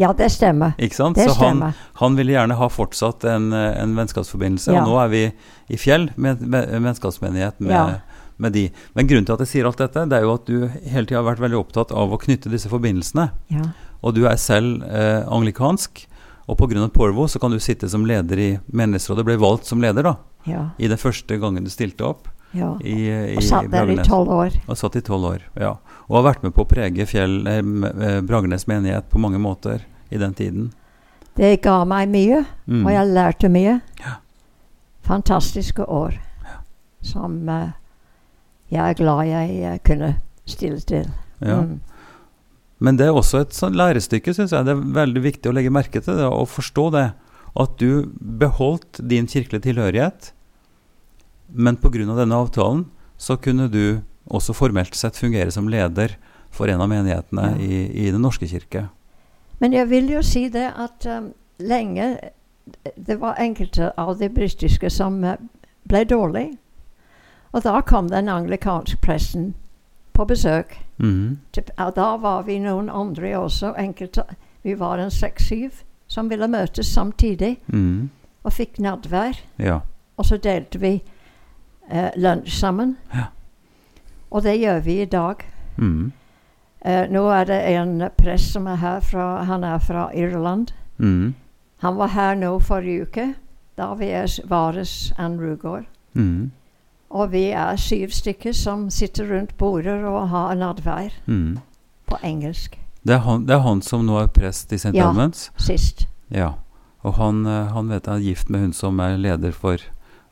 [SPEAKER 8] Ja, det stemmer.
[SPEAKER 7] ikke sant?
[SPEAKER 8] Det
[SPEAKER 7] så han,
[SPEAKER 8] stemmer.
[SPEAKER 7] han ville gjerne ha fortsatt en, eh, en vennskapsforbindelse,
[SPEAKER 8] Ja.
[SPEAKER 7] og nå er vi i Fjell med, med en vennskapsmenighet med,
[SPEAKER 8] Ja.
[SPEAKER 7] med de. Men grunnen til at jeg sier alt dette, det er jo at du hele tida har vært veldig opptatt av å knytte disse forbindelsene.
[SPEAKER 8] Ja.
[SPEAKER 7] Og du er selv eh, anglikansk, og pga. Porvo så kan du sitte som leder i menighetsrådet. Ble valgt som leder, da,
[SPEAKER 8] Ja,
[SPEAKER 7] i den første gangen du stilte opp
[SPEAKER 8] ja.
[SPEAKER 7] i, i
[SPEAKER 8] Og satt der i
[SPEAKER 7] Bragernes.
[SPEAKER 8] tolv år.
[SPEAKER 7] Og satt i tolv år, ja. Og har vært med på å prege Fjell, eh, m- eh, Bragernes menighet på mange måter i den tiden.
[SPEAKER 8] Det ga meg mye,
[SPEAKER 7] Mm.
[SPEAKER 8] og jeg lærte mye.
[SPEAKER 7] Ja.
[SPEAKER 8] Fantastiske år som eh, jeg er glad jeg eh, kunne stille til.
[SPEAKER 7] Ja.
[SPEAKER 8] Mm.
[SPEAKER 7] Men det er også et sånn lærestykke, syns jeg. Det er veldig viktig å legge merke til det og forstå det. At du beholdt din kirkelige tilhørighet, men pga. denne avtalen så kunne du også formelt sett fungere som leder for en av menighetene
[SPEAKER 8] Ja.
[SPEAKER 7] i, i Den norske kirke.
[SPEAKER 8] Men jeg vil jo si det at eh, lenge Det var enkelte av de britiske som eh, ble dårlig. Og da kom den anglikanske presten på besøk.
[SPEAKER 7] Mhm.
[SPEAKER 8] Til, ja, da var vi noen andre også. Enkelte, vi var en seks-syv som ville møtes samtidig,
[SPEAKER 7] Mhm.
[SPEAKER 8] og fikk nadvær.
[SPEAKER 7] Ja.
[SPEAKER 8] Og så delte vi eh, lunsj sammen.
[SPEAKER 7] Ja.
[SPEAKER 8] Og det gjør vi i dag.
[SPEAKER 7] Mhm.
[SPEAKER 8] Eh, nå er det en prest som er her, fra, han er fra Irland.
[SPEAKER 7] Mhm.
[SPEAKER 8] Han var her nå forrige uke, da vi er s- vares Ann Rugård.
[SPEAKER 7] Mhm.
[SPEAKER 8] Og vi er syv stykker som sitter rundt bordet og har nadvær
[SPEAKER 7] Mhm.
[SPEAKER 8] på engelsk.
[SPEAKER 7] Det, er han, det er han som nå er prest i St.
[SPEAKER 8] Ja.
[SPEAKER 7] Edmunds?
[SPEAKER 8] Sist.
[SPEAKER 7] Ja. Og han, eh, han vet jeg er gift med hun som er leder for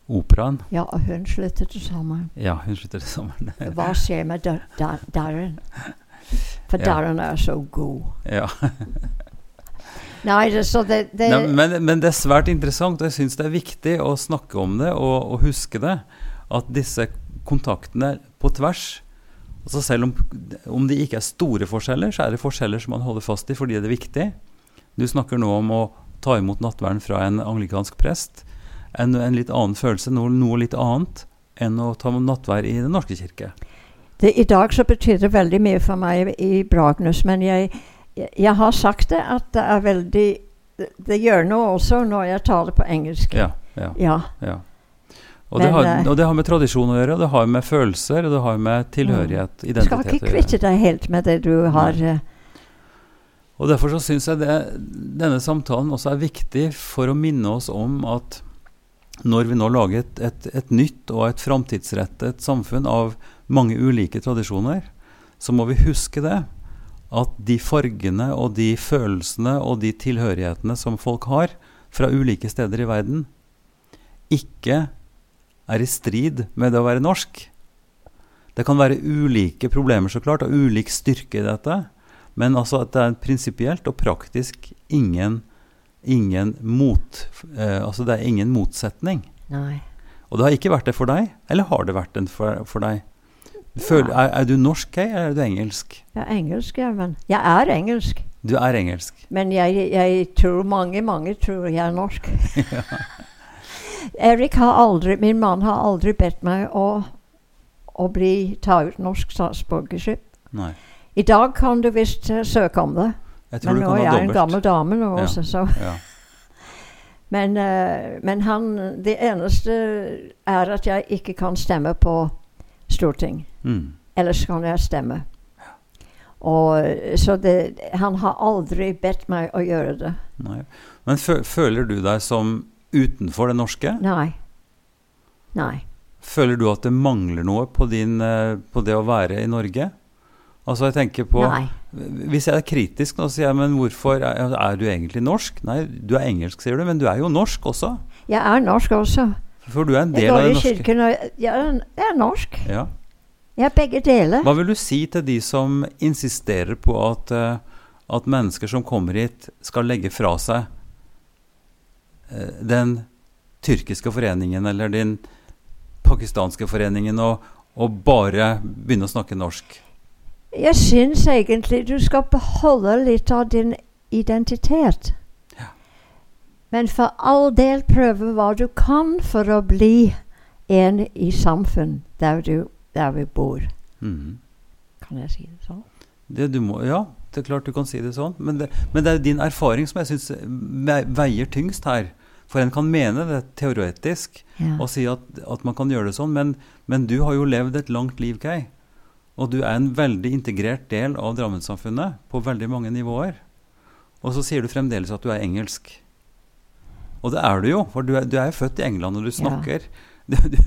[SPEAKER 7] operaen.
[SPEAKER 8] Ja, og hun sluttet til sommeren.
[SPEAKER 7] Ja, hun slutter det sammen.
[SPEAKER 8] Hva skjer med Dar- Dar- Darren? For
[SPEAKER 7] Ja.
[SPEAKER 8] Darren er så god.
[SPEAKER 7] ja.
[SPEAKER 8] Nei, det, så det, det
[SPEAKER 7] Nei, men, men det er svært interessant, og jeg syns det er viktig å snakke om det og, og huske det. At disse kontaktene på tvers altså Selv om, om de ikke er store forskjeller, så er det forskjeller som man holder fast i fordi det er viktig. Du snakker nå om å ta imot nattverden fra en anglikansk prest. En, en litt annen følelse, noe, noe litt annet enn å ta imot nattverd i Den norske kirke.
[SPEAKER 8] det, I dag så betyr det veldig mye for meg i Bragnus, men jeg, jeg, jeg har sagt det at det er veldig Det, det gjør noe også når jeg taler på engelsk.
[SPEAKER 7] Ja, ja.
[SPEAKER 8] Ja,
[SPEAKER 7] Ja. Og, det
[SPEAKER 8] Men,
[SPEAKER 7] har,
[SPEAKER 8] eh,
[SPEAKER 7] og det har med tradisjon å gjøre, og det har med følelser, og det har med tilhørighet,
[SPEAKER 8] Mm. Du skal
[SPEAKER 7] identitet, å
[SPEAKER 8] ikke
[SPEAKER 7] gjøre.
[SPEAKER 8] kvitte deg helt med det du har eh,
[SPEAKER 7] Og derfor så syns jeg det, denne samtalen også er viktig for å minne oss om at når vi nå lager et, et, et nytt og et framtidsrettet samfunn av mange ulike tradisjoner, så må vi huske det. At de fargene og de følelsene og de tilhørighetene som folk har fra ulike steder i verden, ikke er i strid med det å være norsk. Det kan være ulike problemer, så klart, og ulik styrke i dette. Men altså at det er prinsipielt og praktisk ingen, ingen mot eh, Altså det er ingen motsetning.
[SPEAKER 8] Nei.
[SPEAKER 7] Og det har ikke vært det for deg, eller har det vært den for, for deg? Føl, er, er du norsk, Kay, eller er du engelsk?
[SPEAKER 8] Jeg er engelsk, ja, men Jeg er engelsk.
[SPEAKER 7] Du er engelsk.
[SPEAKER 8] Men jeg, jeg tror mange, mange tror jeg er norsk. Erik har aldri, min mann har aldri bedt meg å, å bli, ta ut norsk statsborgerskap.
[SPEAKER 7] Nei.
[SPEAKER 8] I dag kan du visst eh, søke om det,
[SPEAKER 7] Jeg tror
[SPEAKER 8] men
[SPEAKER 7] du
[SPEAKER 8] nå
[SPEAKER 7] kan ha
[SPEAKER 8] er jeg en
[SPEAKER 7] dobbelt.
[SPEAKER 8] gammel dame nå
[SPEAKER 7] Ja.
[SPEAKER 8] også, så.
[SPEAKER 7] Ja.
[SPEAKER 8] Men, eh, men han, det eneste er at jeg ikke kan stemme på storting.
[SPEAKER 7] Mm.
[SPEAKER 8] Ellers kan jeg stemme. Og, eh, så det, han har aldri bedt meg å gjøre det.
[SPEAKER 7] Nei. Men fø, føler du deg som utenfor det norske?
[SPEAKER 8] Nei. Nei.
[SPEAKER 7] Føler du at det mangler noe på, din, eh, på det å være i Norge? Altså jeg tenker på
[SPEAKER 8] Nei.
[SPEAKER 7] Hvis jeg er kritisk nå, sier jeg, men hvorfor er, er du egentlig norsk? Nei, du er engelsk, sier du, men du er jo norsk også.
[SPEAKER 8] Jeg er norsk også.
[SPEAKER 7] For du er en
[SPEAKER 8] Jeg
[SPEAKER 7] del av
[SPEAKER 8] går
[SPEAKER 7] det
[SPEAKER 8] i
[SPEAKER 7] norske.
[SPEAKER 8] kirken og jeg er, jeg er norsk.
[SPEAKER 7] Ja.
[SPEAKER 8] Jeg er begge deler.
[SPEAKER 7] Hva vil du si til de som insisterer på at, eh, at mennesker som kommer hit, skal legge fra seg eh, den tyrkiske foreningen eller den pakistanske foreningen og, og bare begynne å snakke norsk?
[SPEAKER 8] Jeg syns egentlig du skal beholde litt av din identitet. Men for all del, prøve hva du kan for å bli en i samfunn der, du, der vi bor.
[SPEAKER 7] Mhm.
[SPEAKER 8] Kan jeg si det sånn?
[SPEAKER 7] Det du må, ja, det er klart du kan si det sånn. Men det, men det er jo din erfaring som jeg syns veier tyngst her. For en kan mene det teoretisk
[SPEAKER 8] Ja.
[SPEAKER 7] og si at, at man kan gjøre det sånn, men, men du har jo levd et langt liv, Kei. Og du er en veldig integrert del av Drammensamfunnet på veldig mange nivåer. Og så sier du fremdeles at du er engelsk. Og det er du jo, for du er, du er jo født i England, og du
[SPEAKER 8] Ja.
[SPEAKER 7] snakker du, du,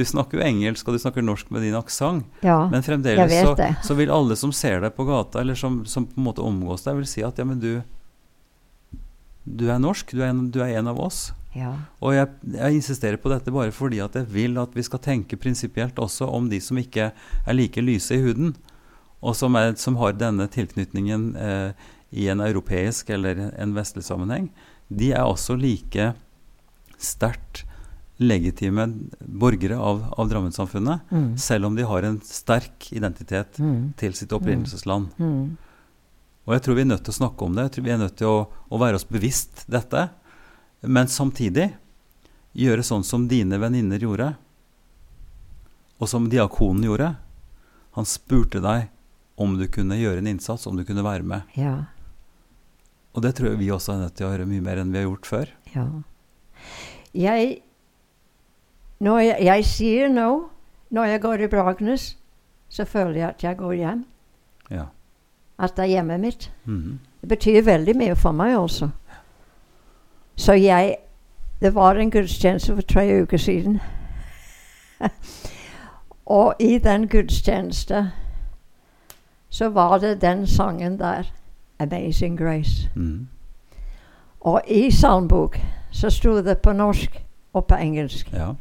[SPEAKER 7] du snakker jo engelsk, og du snakker norsk med din aksent.
[SPEAKER 8] ja.
[SPEAKER 7] Men
[SPEAKER 8] Jeg
[SPEAKER 7] fremdeles
[SPEAKER 8] vet
[SPEAKER 7] så,
[SPEAKER 8] det.
[SPEAKER 7] så vil alle som ser deg på gata, eller som, som på en måte omgås deg, vil si at ja, men du Du er norsk. Du er en, du er en av oss.
[SPEAKER 8] ja.
[SPEAKER 7] Og jeg, jeg insisterer på dette bare fordi at jeg vil at vi skal tenke prinsipielt også om de som ikke er like lyse i huden, og som, er, som har denne tilknytningen eh, i en europeisk eller en vestlig sammenheng. De er også like sterkt legitime borgere av, av Drammen-samfunnet,
[SPEAKER 8] Mm.
[SPEAKER 7] selv om de har en sterk identitet
[SPEAKER 8] Mm.
[SPEAKER 7] til sitt opprinnelsesland.
[SPEAKER 8] Mm.
[SPEAKER 7] Og jeg tror vi er nødt til å snakke om det. Jeg tror vi er nødt til å, å være oss bevisst dette. Men samtidig gjøre sånn som dine venninner gjorde, og som diakonen gjorde. Han spurte deg om du kunne gjøre en innsats, om du kunne være med.
[SPEAKER 8] Ja.
[SPEAKER 7] Og det tror jeg vi også er nødt til å gjøre mye mer enn vi har gjort før.
[SPEAKER 8] Ja. Jeg når jeg, jeg sier nå, når jeg går i Bragnes, så føler jeg at jeg går hjem.
[SPEAKER 7] Ja.
[SPEAKER 8] At det er hjemmet mitt.
[SPEAKER 7] Mhm.
[SPEAKER 8] Det betyr veldig mye for meg også. Så jeg Det var en gudstjeneste for tre uker siden. Og i den gudstjeneste så var det den sangen der, 'Amazing Grace'.
[SPEAKER 7] Mhm.
[SPEAKER 8] Og i salmbok så sto det på norsk og på engelsk.
[SPEAKER 7] Ja.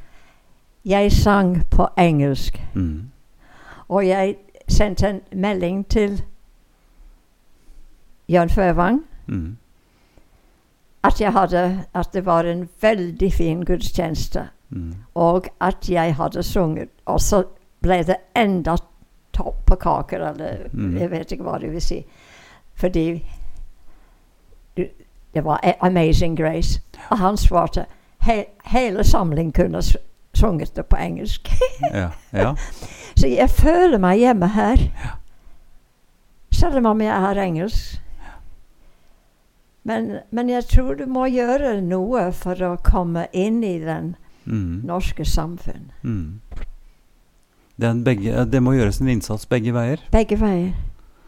[SPEAKER 8] Jeg sang på engelsk,
[SPEAKER 7] Mhm.
[SPEAKER 8] og jeg sendte en melding til Jørn Føvang
[SPEAKER 7] Mhm.
[SPEAKER 8] at, jeg hadde, at det var en veldig fin gudstjeneste,
[SPEAKER 7] Mhm.
[SPEAKER 8] og at jeg hadde sunget. Og så ble det enda topp på kaker, eller
[SPEAKER 7] Mm.
[SPEAKER 8] jeg vet ikke hva det vil si. Fordi du- det var A- Amazing Grace. Og han svarte He hele samlingen kunne s- sunget det på engelsk.
[SPEAKER 7] Ja. ja.
[SPEAKER 8] Så jeg føler meg hjemme her. Selv om jeg er engelsk. Men, men jeg tror du må gjøre noe for å komme inn i den
[SPEAKER 7] Mhm.
[SPEAKER 8] norske samfunn.
[SPEAKER 7] Mhm. Det, er en begge, det må gjøres en innsats begge veier.
[SPEAKER 8] Begge veier.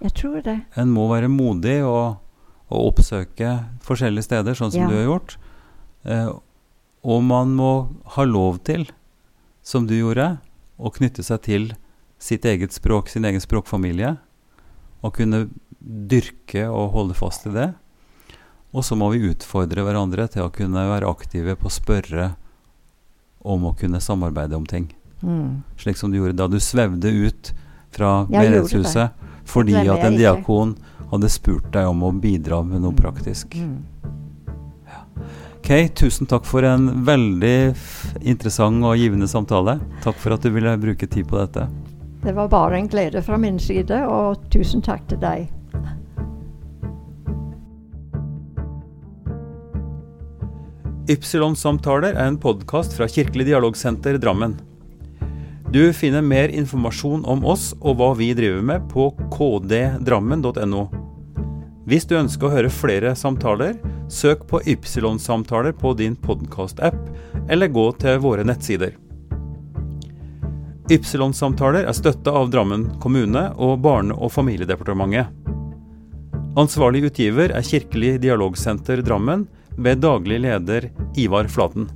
[SPEAKER 8] Jeg tror det.
[SPEAKER 7] En må være modig og, og oppsøke forskjellige steder, sånn som
[SPEAKER 8] Ja.
[SPEAKER 7] du har gjort. Eh, og man må ha lov til, som du gjorde, å knytte seg til sitt eget språk, sin egen språkfamilie. Og kunne dyrke og holde fast i det. Og så må vi utfordre hverandre til å kunne være aktive på å spørre om å kunne samarbeide om ting.
[SPEAKER 8] Mm.
[SPEAKER 7] Slik som du gjorde da du svevde ut fra
[SPEAKER 8] Ja, jeg gjorde
[SPEAKER 7] menighetshuset fordi
[SPEAKER 8] Glemmer
[SPEAKER 7] at en
[SPEAKER 8] jeg ikke.
[SPEAKER 7] diakon hadde spurt deg om å bidra med noe praktisk.
[SPEAKER 8] Mm.
[SPEAKER 7] Kay, tusen takk for en veldig f- interessant og givende samtale. Takk for at du ville bruke tid på dette.
[SPEAKER 8] Det var bare en glede fra min side, og tusen takk til deg.
[SPEAKER 7] Ypsilon-samtaler er en podkast fra Kirkelig dialogsenter Drammen. Du finner mer informasjon om oss og hva vi driver med på kddrammen.no. Hvis du ønsker å høre flere samtaler, søk på Ypsilon-samtaler på din podkast-app, eller gå til våre nettsider. Ypsilon-samtaler er støtta av Drammen kommune og Barne- og familiedepartementet. Ansvarlig utgiver er Kirkelig dialogsenter Drammen ved daglig leder Ivar Flaten.